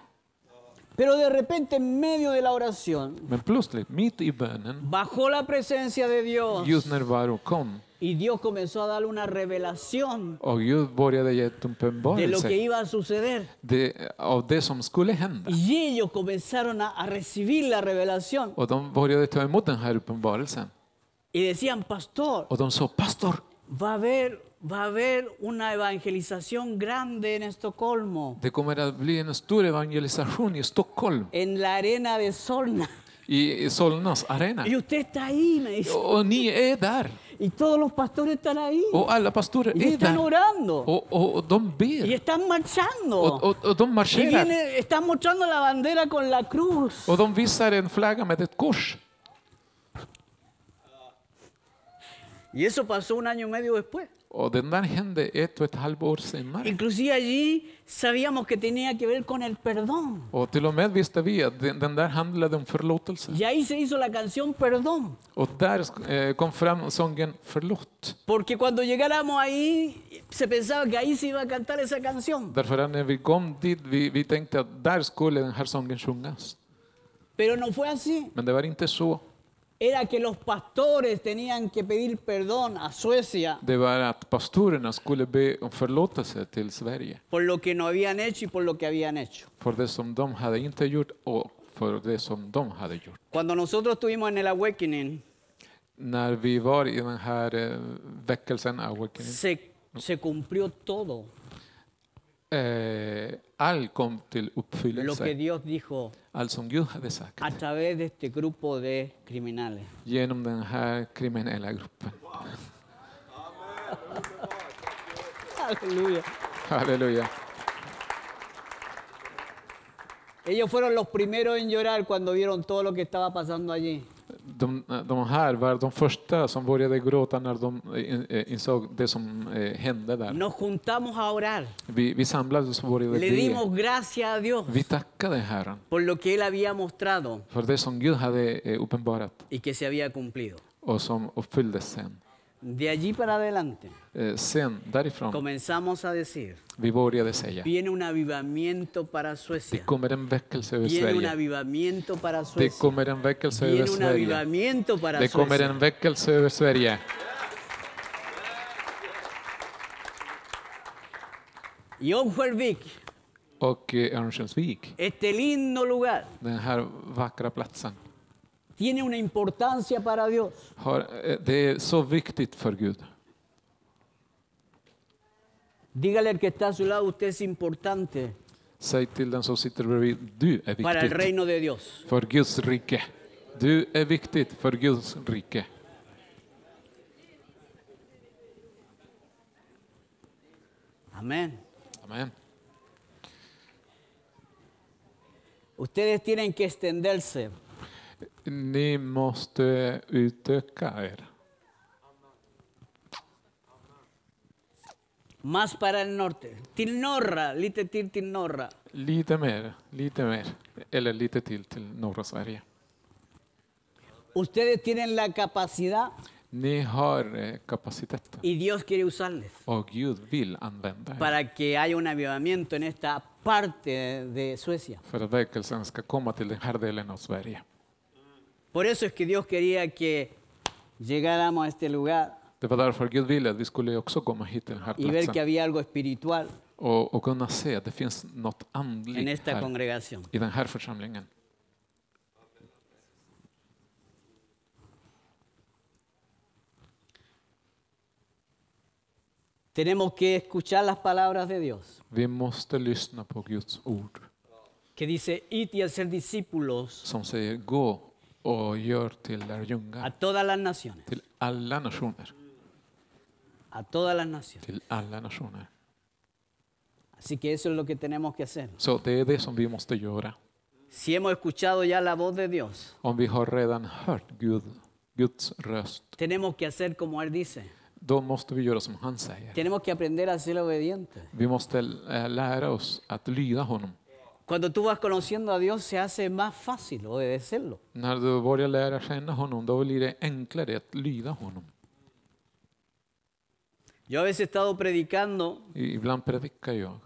S1: Pero de repente, en medio de la oración,
S2: Men plötsligt, mitt i bönen,
S1: bajó la presencia de Dios
S2: Guds närvaro kom
S1: y Dios comenzó a darle una revelación
S2: och Gud började ge ett
S1: de lo que
S2: uppenbarelse
S1: iba a suceder.
S2: det- av det som skulle hända.
S1: Y ellos comenzaron a, a recibir la revelación
S2: Och de började ta emot den här uppenbarelsen.
S1: y decían, pastor,
S2: Och de sa, pastor,
S1: va a haber, va a haber una evangelización grande en Estocolmo,
S2: det kommer att bli en stor evangelisation i Stockholm,
S1: en la arena de Solna.
S2: i i Solnas arena.
S1: Y usted está ahí, me dice.
S2: Och ni är där.
S1: Y todos los pastores están ahí.
S2: Och alla pastorer
S1: Y
S2: är
S1: están
S2: där.
S1: orando.
S2: Och, och, och de
S1: Y
S2: ber.
S1: están
S2: Och,
S1: marchando.
S2: och, och de
S1: Y
S2: marscherar.
S1: viene, están mostrando la bandera con la cruz.
S2: Och de visar en flagga med ett kors.
S1: Y eso pasó un año y medio después.
S2: Och den där hände ett och ett halvt år senare.
S1: Inclusive allí sabíamos que tenía que ver con el perdón.
S2: Och till och med visste vi att den, den där handlade om förlåtelse.
S1: Y ahí se hizo la canción Perdón.
S2: Och där eh, kom fram sången Förlåt.
S1: Porque cuando llegáramos ahí, se pensaba que ahí se iba a cantar esa canción.
S2: Därför att när vi kom dit vi, vi tänkte att där skulle den här sången sjungas.
S1: Pero no fue así.
S2: Men det var inte så.
S1: Era que los pastores tenían que pedir perdón a Suecia
S2: Det var att pastorerna skulle be om förlåtelse till Sverige
S1: por lo que no habían hecho y por lo que habían hecho.
S2: för det som de hade inte gjort och för det som de hade gjort.
S1: Cuando nosotros estuvimos en el Awakening,
S2: När vi var i den här eh, väckelsen, eh, awakening,
S1: se, se cumplió todo
S2: eh, allt kom till
S1: lo que
S2: uppfyllelse.
S1: Dios dijo
S2: Allt som Gud hade sagt
S1: a través de este grupo de criminales.
S2: genom den här kriminella gruppen.
S1: Aleluya.
S2: Halleluja.
S1: Ellos fueron los primeros en llorar cuando vieron todo lo que estaba pasando allí.
S2: De, de här var de första som började gråta när de eh, eh, insåg det som eh, hände där.
S1: Nos juntamos a orar.
S2: Vi, vi samlades och började
S1: Le
S2: be.
S1: dimos gracias a Dios
S2: Vi tackade Herren
S1: por lo que Él había mostrado
S2: för det som Gud hade eh, uppenbarat
S1: y que se había cumplido.
S2: och som uppfylldes sen.
S1: De allí para adelante
S2: Eh, Sen, därifrån,
S1: comenzamos a decir,
S2: vi började säga,
S1: viene un avivamiento para
S2: det
S1: Suecia,
S2: kommer en väckelse över
S1: viene un
S2: Sverige.
S1: avivamiento para
S2: Det
S1: Suecia,
S2: kommer en väckelse över
S1: viene un
S2: Sverige.
S1: avivamiento para
S2: Det kommer
S1: Suecia.
S2: en väckelse över Sverige.
S1: Y Onjuelvik,
S2: Och eh, Örnsköldsvik,
S1: este lindo lugar,
S2: den här vackra platsen,
S1: tiene una importancia para Dios.
S2: har, eh, det är så viktigt för Gud.
S1: Dígale al que está a su lado, usted es importante
S2: Säg till den som sitter bredvid, du är
S1: para el
S2: viktig
S1: reino de Dios.
S2: för Guds rike. Du är viktig för Guds rike.
S1: Amén.
S2: Amen.
S1: Ustedes tienen que extenderse.
S2: Ni måste utöka er.
S1: Más para el norte. Tilnorra, lite till Tilnorra.
S2: Lite mer, lite mer. Eller lite till till norra Sverige.
S1: Ustedes tienen la capacidad
S2: Ni har eh, kapaciteten
S1: y Dios quiere usarles
S2: och Gud vill använda er
S1: para que haya un avivamiento en esta parte de Suecia.
S2: för att väckelsen ska komma till den här delen av Sverige.
S1: Por eso es que Dios quería que llegáramos a este lugar
S2: Det var därför Gud ville att vi skulle också komma hit till den här
S1: y ver que
S2: platsen
S1: había algo espiritual
S2: och, och kunna se att det finns något
S1: en
S2: andligt
S1: esta
S2: här,
S1: congregación.
S2: i den här församlingen.
S1: Tenemos que escuchar las palabras de Dios,
S2: Vi måste lyssna på Guds ord
S1: que dice, id y hacer discípulos
S2: som säger gå och gör till
S1: a
S2: lärjungar,
S1: todas las naciones,
S2: till alla nationer.
S1: a todas las naciones.
S2: Till alla nationer.
S1: Así que eso es lo que tenemos que hacer.
S2: Så det är det som vi måste göra.
S1: Si hemos escuchado ya la voz de Dios,
S2: Om vi har redan hört Gud, Guds röst,
S1: tenemos que hacer como Él dice.
S2: då måste vi göra som han säger.
S1: Tenemos que aprender a ser obedientes.
S2: Vi måste eh, lära oss att lyda honom.
S1: Cuando tú vas conociendo a Dios se hace más fácil obedecerlo.
S2: När du börjar lära känna honom, då blir det enklare att lyda honom.
S1: Yo a veces he estado predicando
S2: I- Ibland predikar jag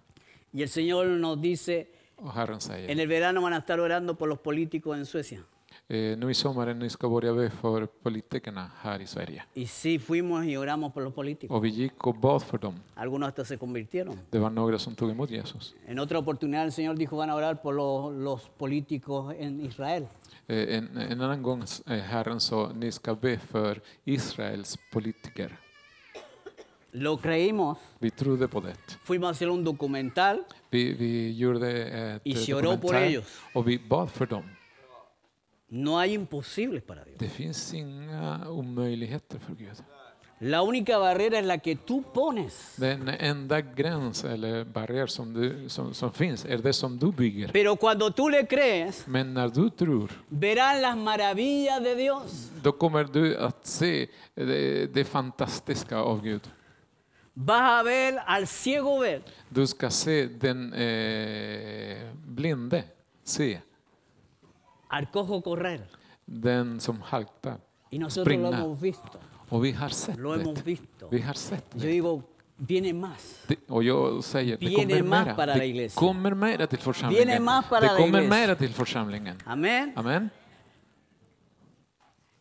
S1: y el Señor nos dice,
S2: Och Herren säger,
S1: En el verano van a estar orando por los políticos en Suecia.
S2: eh, nu i sommar nu ska börja be för politikerna här i Sverige.
S1: Y sí, fuimos y oramos por los políticos.
S2: Och vi gick och bad för dem.
S1: Algunos hasta se convirtieron.
S2: Det var några som tog emot Jesus.
S1: En otra oportunidad el Señor dijo van a orar por los, los políticos en Israel.
S2: Eh, En, en annan gång eh, Herren sa, ni ska be för Israels politiker.
S1: Lo creímos.
S2: Vi trodde på det.
S1: Fuimos a hacer un documental
S2: Vi, vi gjorde ett
S1: Y
S2: eh,
S1: si oró por
S2: dokumentär
S1: ellos.
S2: och vi bad för dem.
S1: No hay imposibles para Dios.
S2: Det finns inga omöjligheter för Gud.
S1: La única barrera es la que tú pones.
S2: Den enda gräns eller barriär som, du, som, som finns är det som du bygger.
S1: Pero cuando tú le crees,
S2: Men när du tror,
S1: verán las maravillas de Dios.
S2: då kommer du att se det, det fantastiska av Gud.
S1: Vas a ver al ciego ver.
S2: Du ska se den eh, blinde se,
S1: al cojo correr.
S2: den som haltar,
S1: Y nosotros lo
S2: springa.
S1: hemos visto.
S2: Och vi har sett
S1: Lo hemos
S2: det.
S1: visto.
S2: Vi har sett
S1: Yo
S2: det.
S1: digo, viene más.
S2: Det- Och jag säger, det
S1: Viene
S2: kommer
S1: más
S2: mera.
S1: para la
S2: Det
S1: iglesia.
S2: kommer mera till församlingen.
S1: Viene más para
S2: Det
S1: la
S2: kommer
S1: iglesia.
S2: mera till församlingen.
S1: Amén.
S2: Amen.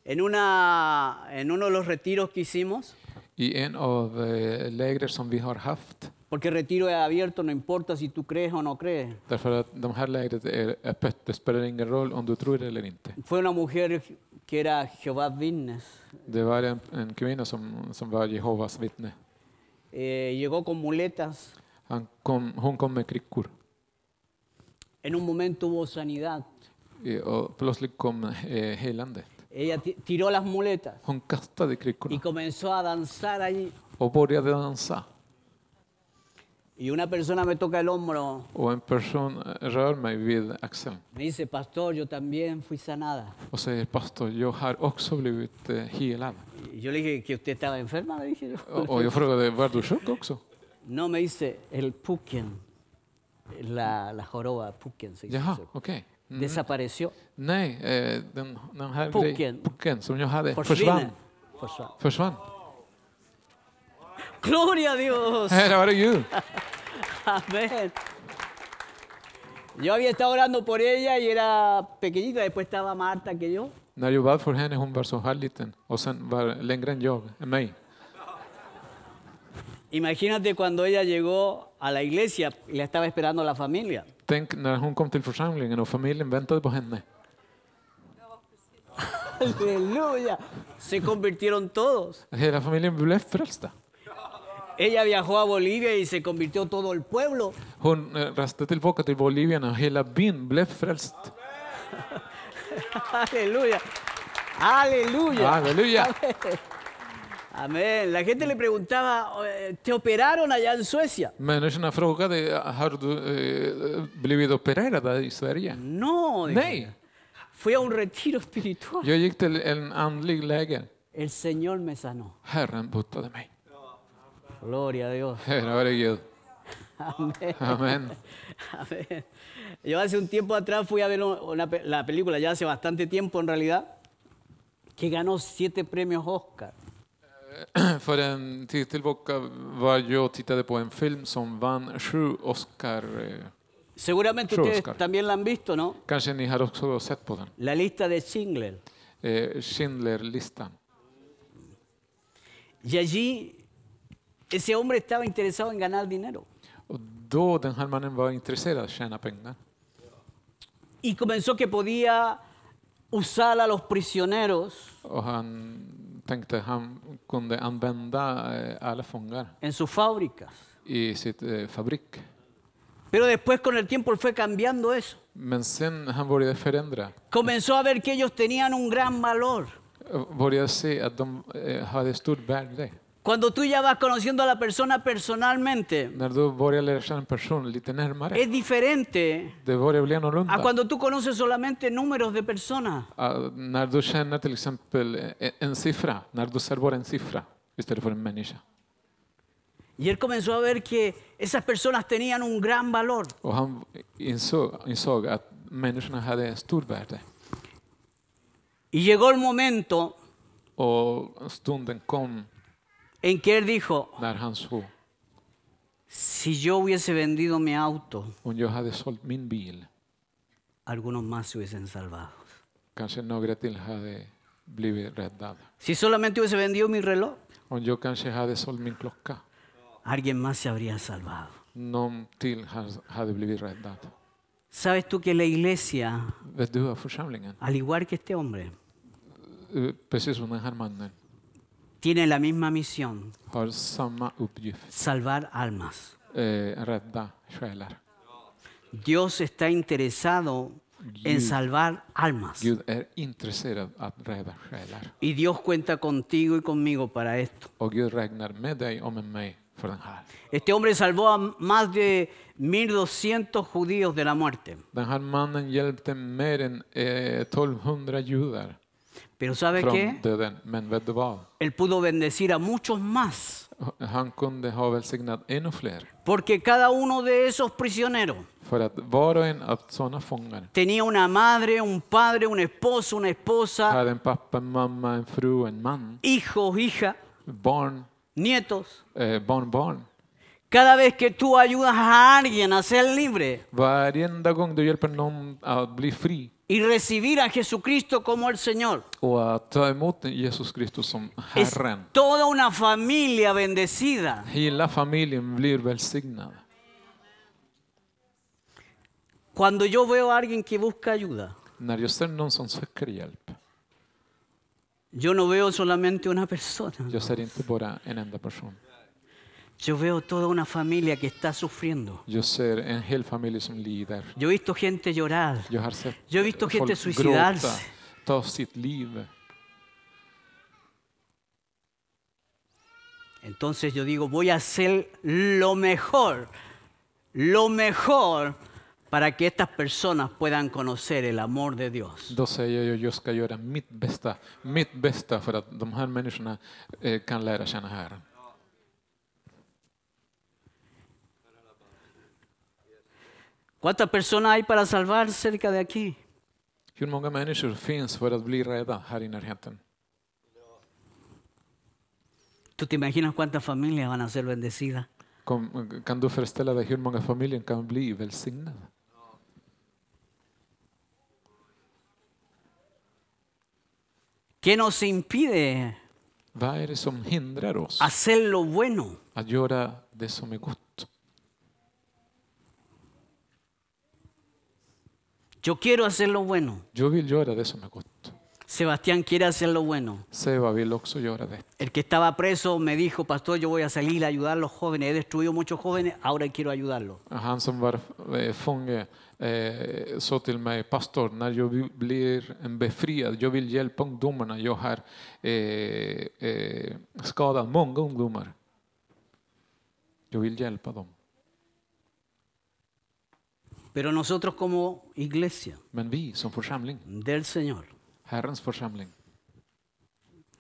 S1: En, una, en uno de los retiros que hicimos,
S2: I en av eh, läger som vi har haft,
S1: porque el retiro es abierto, no importa si tú crees o no crees.
S2: därför att de här lägret är öppet, det spelar ingen roll om du tror eller inte.
S1: Fue una mujer que era Jehová Witness.
S2: Det var en, en kvinna som, som var Jehovas vittne.
S1: Eh, llegó con muletas.
S2: Han kom, hon kom med kryckor
S1: En un momento hubo sanidad.
S2: eh, och plötsligt kom eh, helandet.
S1: Ella ti- tiró las muletas
S2: Hon kastade
S1: y
S2: kryckorna
S1: comenzó a danzar allí.
S2: och började dansa.
S1: Y una persona me toca el hombro,
S2: Och en person rör mig vid axeln
S1: me dice, pastor, yo también fui sanada.
S2: och säger pastor, jag har också blivit eh, helad.
S1: Y Yo le dije que usted estaba enferma, le dije yo.
S2: Och, och jag frågade, var du sjuk också?
S1: No, me dice el Puken, la, la joroba Puken se dice.
S2: Jaha,
S1: eso.
S2: okej. Mm.
S1: Desapareció.
S2: Nej, eh, den, den här
S1: Pucken.
S2: grejen, pucken som jag hade försvann.
S1: Forsvina. Forsvann.
S2: Försvann.
S1: Gloria a Dios.
S2: Här var det Gud.
S1: Amén. Yo había estado orando por ella y era pequeñita, después estaba más alta que yo.
S2: När jag bad för henne, hon var så här liten och sen var längre än jag, än mig.
S1: Imagínate cuando ella llegó a la iglesia y la estaba esperando la familia.
S2: Tänk när hon kom till församlingen och familjen väntade på henne.
S1: Aleluya. Se convirtieron todos.
S2: Hela familjen blev frälsta.
S1: Ella viajó a Bolivia y se convirtió todo el pueblo.
S2: Hon eh, reste tillbaka till Bolivien och hela byn blev frälst.
S1: Aleluya. Aleluya.
S2: Ah. Halleluja!
S1: Amén. La gente le preguntaba, eh, ¿te operaron allá en Suecia?
S2: Människorna frågade, har du eh, blivit opererad här i Sverige?
S1: No. dije.
S2: Nej,
S1: Fui a un retiro espiritual.
S2: jag gick till en andlig läger.
S1: El Señor me sanó.
S2: Herren botade mig.
S1: Gloria a Dios.
S2: Ära vare Gud.
S1: Amén.
S2: Amen.
S1: Amén. Yo hace un tiempo atrás fui a ver una pe- la película, ya hace bastante tiempo en realidad, que ganó siete premios Oscar.
S2: För en tid tillbaka var jag och tittade på en film som vann sju Oscar. eh,
S1: Seguramente
S2: Sure,
S1: ustedes
S2: Oscar.
S1: también la han visto, ¿no?
S2: Kanske ni har också sett på den.
S1: La lista de Schindler.
S2: Eh, Schindlerlistan.
S1: Y allí ese hombre estaba interesado en ganar dinero.
S2: Och då den här mannen var intresserad av att tjäna pengar.
S1: y comenzó que podía usar a los prisioneros
S2: Och han tänkte han kunde använda eh, alla fångar
S1: en sus fábricas.
S2: i sitt eh, fabrik.
S1: Pero después con el tiempo él fue cambiando eso.
S2: Men sen han började förändra.
S1: Comenzó a ver que ellos tenían un gran valor.
S2: eh, Började se att de eh, hade stort värde.
S1: Cuando tú ya vas conociendo a la persona personalmente,
S2: När du börjar lära känna en person lite närmare,
S1: es diferente
S2: det börjar bli
S1: a
S2: annorlunda.
S1: cuando tú conoces solamente números de personas.
S2: Ja, Ah, när du känner till exempel en, en siffra, när du ser bara en siffra istället för en människa.
S1: Y él comenzó a ver que esas personas tenían un gran valor.
S2: Och han insåg, insåg att människorna hade en stor värde.
S1: Y llegó el momento
S2: Och stunden kom
S1: en que él dijo,
S2: när han såg,
S1: Si yo hubiese vendido mi auto,
S2: Om jag hade sålt min bil
S1: algunos más se hubiesen salvado.
S2: kanske några till hade blivit räddade.
S1: Si solamente hubiese vendido mi reloj,
S2: Om jag kanske hade sålt min klocka,
S1: alguien más se habría salvado.
S2: någon till ha- hade blivit räddad.
S1: ¿Sabes tú que la iglesia,
S2: Vet du vad församlingen,
S1: al igual que este hombre,
S2: eh, precis som den här mannen,
S1: tiene la misma misión?
S2: har samma uppgift,
S1: Salvar almas.
S2: eh, rädda själar.
S1: Dios está interesado en salvar almas.
S2: Gud är intresserad av att rädda själar.
S1: Y Dios cuenta contigo y conmigo para esto.
S2: Och Gud räknar med dig och med mig för den här.
S1: Este hombre salvó a más de 1200 judíos de la muerte.
S2: Den här mannen hjälpte mer än eh, 1200 judar
S1: Pero ¿sabe
S2: från
S1: qué?
S2: döden. Men vet du vad?
S1: Él pudo bendecir a muchos más.
S2: Han kunde ha välsignat ännu fler.
S1: Porque cada uno de esos prisioneros
S2: För att var och en av sådana fångar
S1: tenía una madre, un padre, un esposo, una esposa,
S2: hade en pappa, en mamma, en fru, en man,
S1: hijos, hija,
S2: barn,
S1: nietos.
S2: eh, barnbarn.
S1: Cada vez que tú ayudas a alguien a ser libre
S2: Varenda gång du hjälper någon att bli fri
S1: y recibir a Jesucristo como el Señor,
S2: och att ta emot Jesus Kristus som
S1: es
S2: Herren.
S1: toda una familia bendecida.
S2: Hela familjen blir välsignad.
S1: Cuando yo veo a alguien que busca ayuda,
S2: När jag ser någon som söker hjälp,
S1: yo no veo solamente una persona,
S2: jag ser inte bara en enda person.
S1: yo veo toda una familia que está sufriendo.
S2: Jag ser en hel familj som lider.
S1: Yo he visto gente llorar,
S2: Jag har sett
S1: Jag har visto
S2: folk
S1: gente suicidarse.
S2: gråta, ta sitt liv.
S1: Entonces yo digo, voy a hacer lo mejor, lo mejor para que estas personas puedan conocer el amor de Dios.
S2: Då säger jag jag ska göra mitt bästa, mitt bästa för att de här människorna eh, kan lära känna Herren.
S1: ¿Cuántas personas hay para salvar cerca de aquí?
S2: Hur många människor finns för att bli rädda här i närheten?
S1: ¿Tú te imaginas cuántas familias van a ser bendecidas?
S2: Kom, kan du föreställa dig hur många familjer kan bli välsignade?
S1: ¿Qué nos impide
S2: Vad är det som hindrar oss
S1: hacer lo bueno?
S2: att göra det som är gott?
S1: Yo quiero hacer lo bueno.
S2: Jag vill göra det som är gott.
S1: Sebastián quiere hacer lo bueno.
S2: Seba vill också göra det.
S1: El que estaba preso me dijo, pastor, yo voy a salir a ayudar a los jóvenes. He destruido muchos jóvenes, ahora quiero ayudarlos.
S2: Han som var eh, fånge eh, sa till mig, pastor, när jag bli- blir en befriad, jag vill hjälpa ungdomarna. Jag har eh, eh, skadat många ungdomar. Jag vill hjälpa dem.
S1: Pero nosotros como iglesia
S2: Men vi som församling,
S1: del Señor,
S2: Herrens församling,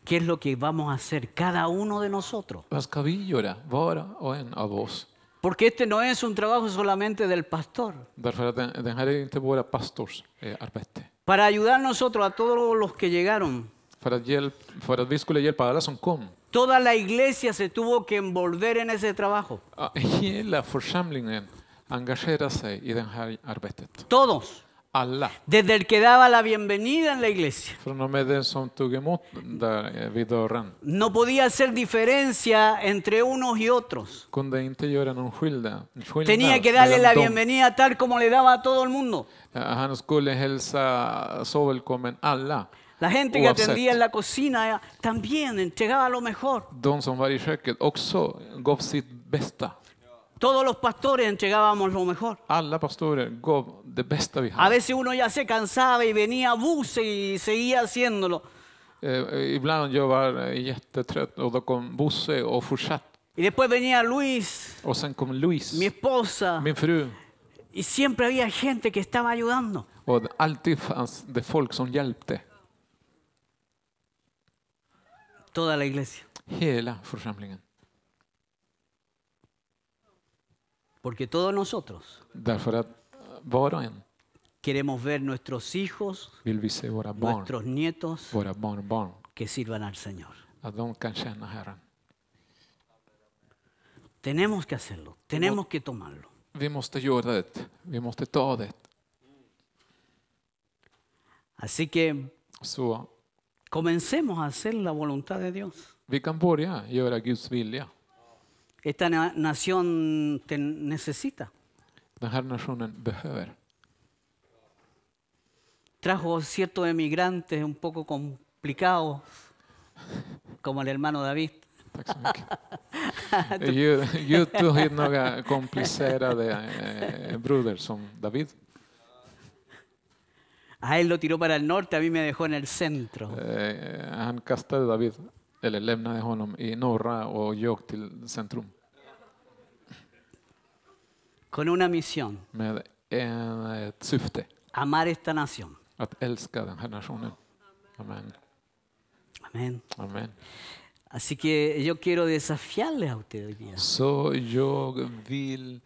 S1: ¿qué es lo que vamos a hacer cada uno de nosotros?
S2: vad ska vi göra, var och en av oss?
S1: Porque este no es un trabajo solamente del pastor.
S2: Därför att den, den här är inte bara pastors eh, arbete.
S1: Para ayudar nosotros a todos los que llegaron,
S2: För att, hjälp, för att vi skulle hjälpa alla som kom.
S1: toda la iglesia se tuvo que envolver en ese trabajo.
S2: Ja, Hela församlingen engagerar sig i det här arbetet.
S1: Todos.
S2: Alla.
S1: Desde el que daba la bienvenida en la iglesia.
S2: Från och med den som tog emot där eh, vid dörren
S1: No podía hacer diferencia entre unos y otros.
S2: kunde inte göra någon skillnad. skillnad
S1: Tenía que darle
S2: mellan
S1: la
S2: dem.
S1: bienvenida tal como le daba a todo el mundo.
S2: Eh, Han skulle hälsa så välkommen alla.
S1: La gente que
S2: Oavsett.
S1: atendía en la cocina eh, también entregaba lo mejor.
S2: De som var i köket också gav sitt bästa.
S1: Todos los pastores entregábamos lo mejor.
S2: Alla pastorer gav det bästa vi
S1: A
S2: hade.
S1: veces uno ya se cansaba y venía a buce y seguía haciéndolo.
S2: Eh, Ibland jag var eh, jättetrött och då kom Bosse och fortsatte.
S1: Y después venía Luis,
S2: Och sen kom Louise,
S1: mi esposa,
S2: min fru.
S1: y siempre había gente que estaba ayudando.
S2: Och det- alltid fanns det folk som hjälpte.
S1: Toda la iglesia.
S2: Hela församlingen.
S1: Porque todos nosotros
S2: Därför att var och en
S1: queremos ver nuestros hijos,
S2: vill vi se våra barn,
S1: nuestros nietos
S2: våra barnbarn,
S1: que sirvan al Señor.
S2: att de kan känna Herren.
S1: Tenemos que hacerlo, tenemos que tomarlo.
S2: Vi måste göra det. Vi måste ta det.
S1: Así que
S2: Så
S1: comencemos a hacer la voluntad de Dios.
S2: vi kan börja göra Guds vilja.
S1: Esta na- nación te necesita.
S2: Den här nationen behöver.
S1: Trajo ciertos emigrantes un poco complicados, como el hermano David.
S2: Tack så mycket. Gud, Gud tog hit några komplicerade eh, bröder som David.
S1: A él lo tiró para el norte, a mí me dejó en el centro.
S2: Eh, han kastade David, eller lämnade honom i norra och jag till centrum
S1: Con una misión,
S2: med en, ett syfte,
S1: amar esta nación.
S2: att älska den här nationen. Amen.
S1: Amén.
S2: Amen.
S1: Así que yo quiero desafiarles a ustedes hoy día.
S2: Så jag vill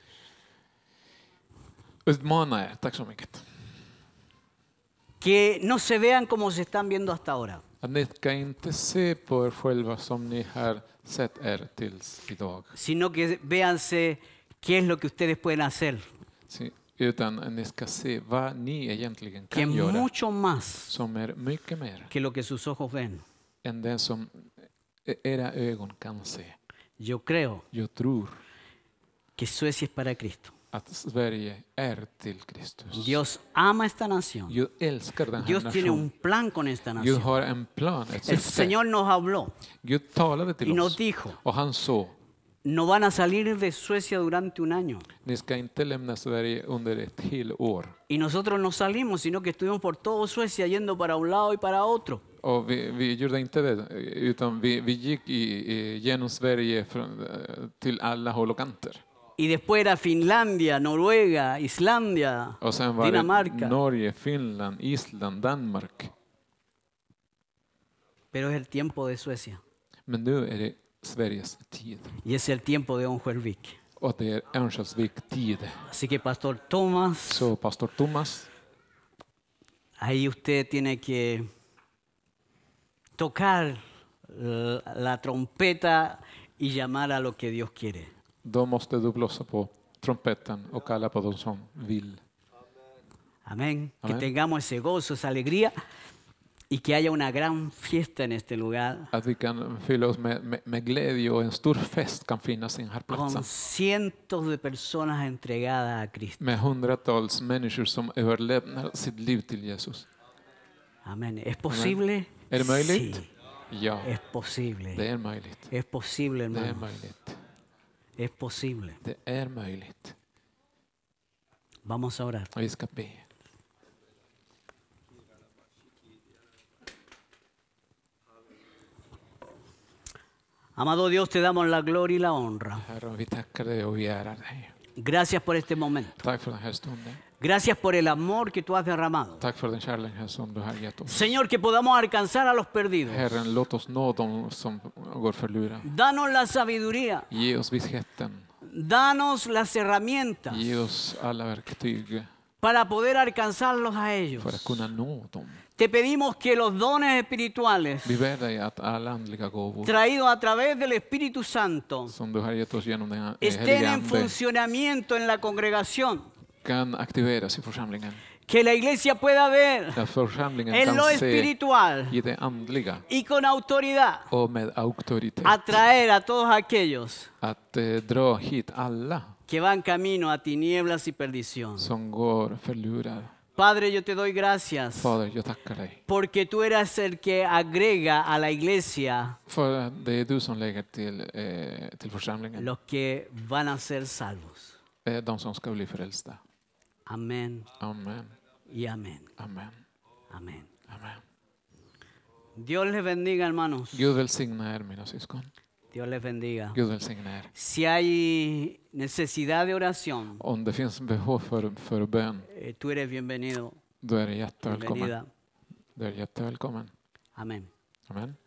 S2: utmana er, tack så mycket.
S1: Que no se vean como se están viendo hasta ahora.
S2: Att ni ska inte se på er själva som ni har sett er tills idag.
S1: sino que véanse qué es lo que ustedes pueden hacer,
S2: Se- Utan ni ska se vad ni egentligen
S1: que es
S2: kan göra
S1: mucho más
S2: som är mycket mer
S1: que lo que sus ojos ven.
S2: än det som e- era ögon kan se.
S1: Yo creo
S2: Jag tror
S1: que Suecia es para Cristo.
S2: att Sverige är till Kristus.
S1: Dios ama esta nación.
S2: Gud älskar den här
S1: Dios tiene un
S2: nationen.
S1: plan con esta
S2: Gud
S1: nación.
S2: har en plan, ett
S1: El
S2: syfte.
S1: Señor nos habló
S2: Gud talade
S1: y
S2: till
S1: nos
S2: oss
S1: dijo,
S2: och han sa,
S1: no van a salir de Suecia durante un año.
S2: ni ska inte lämna Sverige under ett helt år.
S1: Y nosotros no salimos, sino que estuvimos por todo Suecia yendo para un lado y para otro.
S2: Och vi, vi gjorde inte det, utan vi, vi gick i, i, genom Sverige från, eh, till alla håll och kanter.
S1: Y después era Finlandia, Noruega, Islandia,
S2: Och sen var
S1: Dinamarca.
S2: det Norge, Finland, Island, Danmark.
S1: pero es el tiempo de Suecia.
S2: Men nu är det Sveriges tid.
S1: Y es el tiempo de Onjuelvik.
S2: Och det är Örnsköldsvik tid.
S1: Así que Pastor Tomás,
S2: Så pastor Thomas,
S1: ahí usted tiene que tocar eh, la trompeta y llamar a lo que Dios quiere.
S2: då måste du blåsa på trumpeten och kalla på de som vill.
S1: Amén.
S2: Amén.
S1: Que tengamos ese gozo, esa alegría y que haya una gran fiesta en este lugar
S2: Att vi kan fylla oss med, med, med glädje och en stor fest kan finnas i den här platsen.
S1: con cientos de personas entregadas a Cristo.
S2: Med hundratals människor som överlämnar sitt liv till Jesus.
S1: Amén. ¿Es posible?
S2: Är det möjligt?
S1: Sí,
S2: Ja,
S1: es posible.
S2: det är möjligt.
S1: Es posible,
S2: Det är
S1: hermano.
S2: möjligt.
S1: Es posible.
S2: Det är möjligt.
S1: Vamos a orar.
S2: Vi ska be.
S1: Amado Dios, te damos la gloria y la honra.
S2: Herre, vi tackar dig och vi ärar dig.
S1: Gracias por este momento.
S2: Tack för den här stunden.
S1: Gracias por el amor que tú has derramado.
S2: Tack för den kärleken som du har gett oss.
S1: Señor, que podamos alcanzar a los perdidos.
S2: Herren, låt oss nå dem som går förlorade.
S1: Danos la sabiduría,
S2: Ge oss visheten.
S1: danos las herramientas
S2: Ge oss alla verktyg
S1: para poder alcanzarlos a ellos.
S2: för att kunna nå dem.
S1: Te pedimos que los dones espirituales
S2: Vi ber dig att alla andliga gåvor
S1: traídos a través del Espíritu Santo
S2: som du har gett oss genom den
S1: estén
S2: helige
S1: en
S2: Ande
S1: funcionamiento en la congregación.
S2: kan aktiveras i församlingen.
S1: Que la iglesia pueda ver
S2: Att församlingen
S1: en lo
S2: kan se
S1: espiritual
S2: i det andliga
S1: y con autoridad
S2: och med auktoritet
S1: atraer a todos aquellos
S2: att eh, dra hit alla
S1: que van camino a tinieblas y perdición.
S2: som går förlorade.
S1: Padre, yo te doy gracias
S2: Fader, jag tackar dig.
S1: porque tú eras el que agrega a la iglesia
S2: För att det är du som lägger till, eh, till församlingen.
S1: los que van a ser salvos.
S2: Eh, De som ska bli frälsta.
S1: Amén
S2: Amen.
S1: y amén.
S2: Amen.
S1: Amén.
S2: Amen.
S1: Dios les bendiga, hermanos.
S2: Gud välsigna er mina syskon.
S1: Dios les bendiga.
S2: Gud välsigna er.
S1: Si hay necesidad de oración,
S2: Om det finns behov för, för bön,
S1: eh, tú eres bienvenido,
S2: då är det jättevälkommen.
S1: bienvenida.
S2: Du är jättevälkommen.
S1: Amén.
S2: Amen.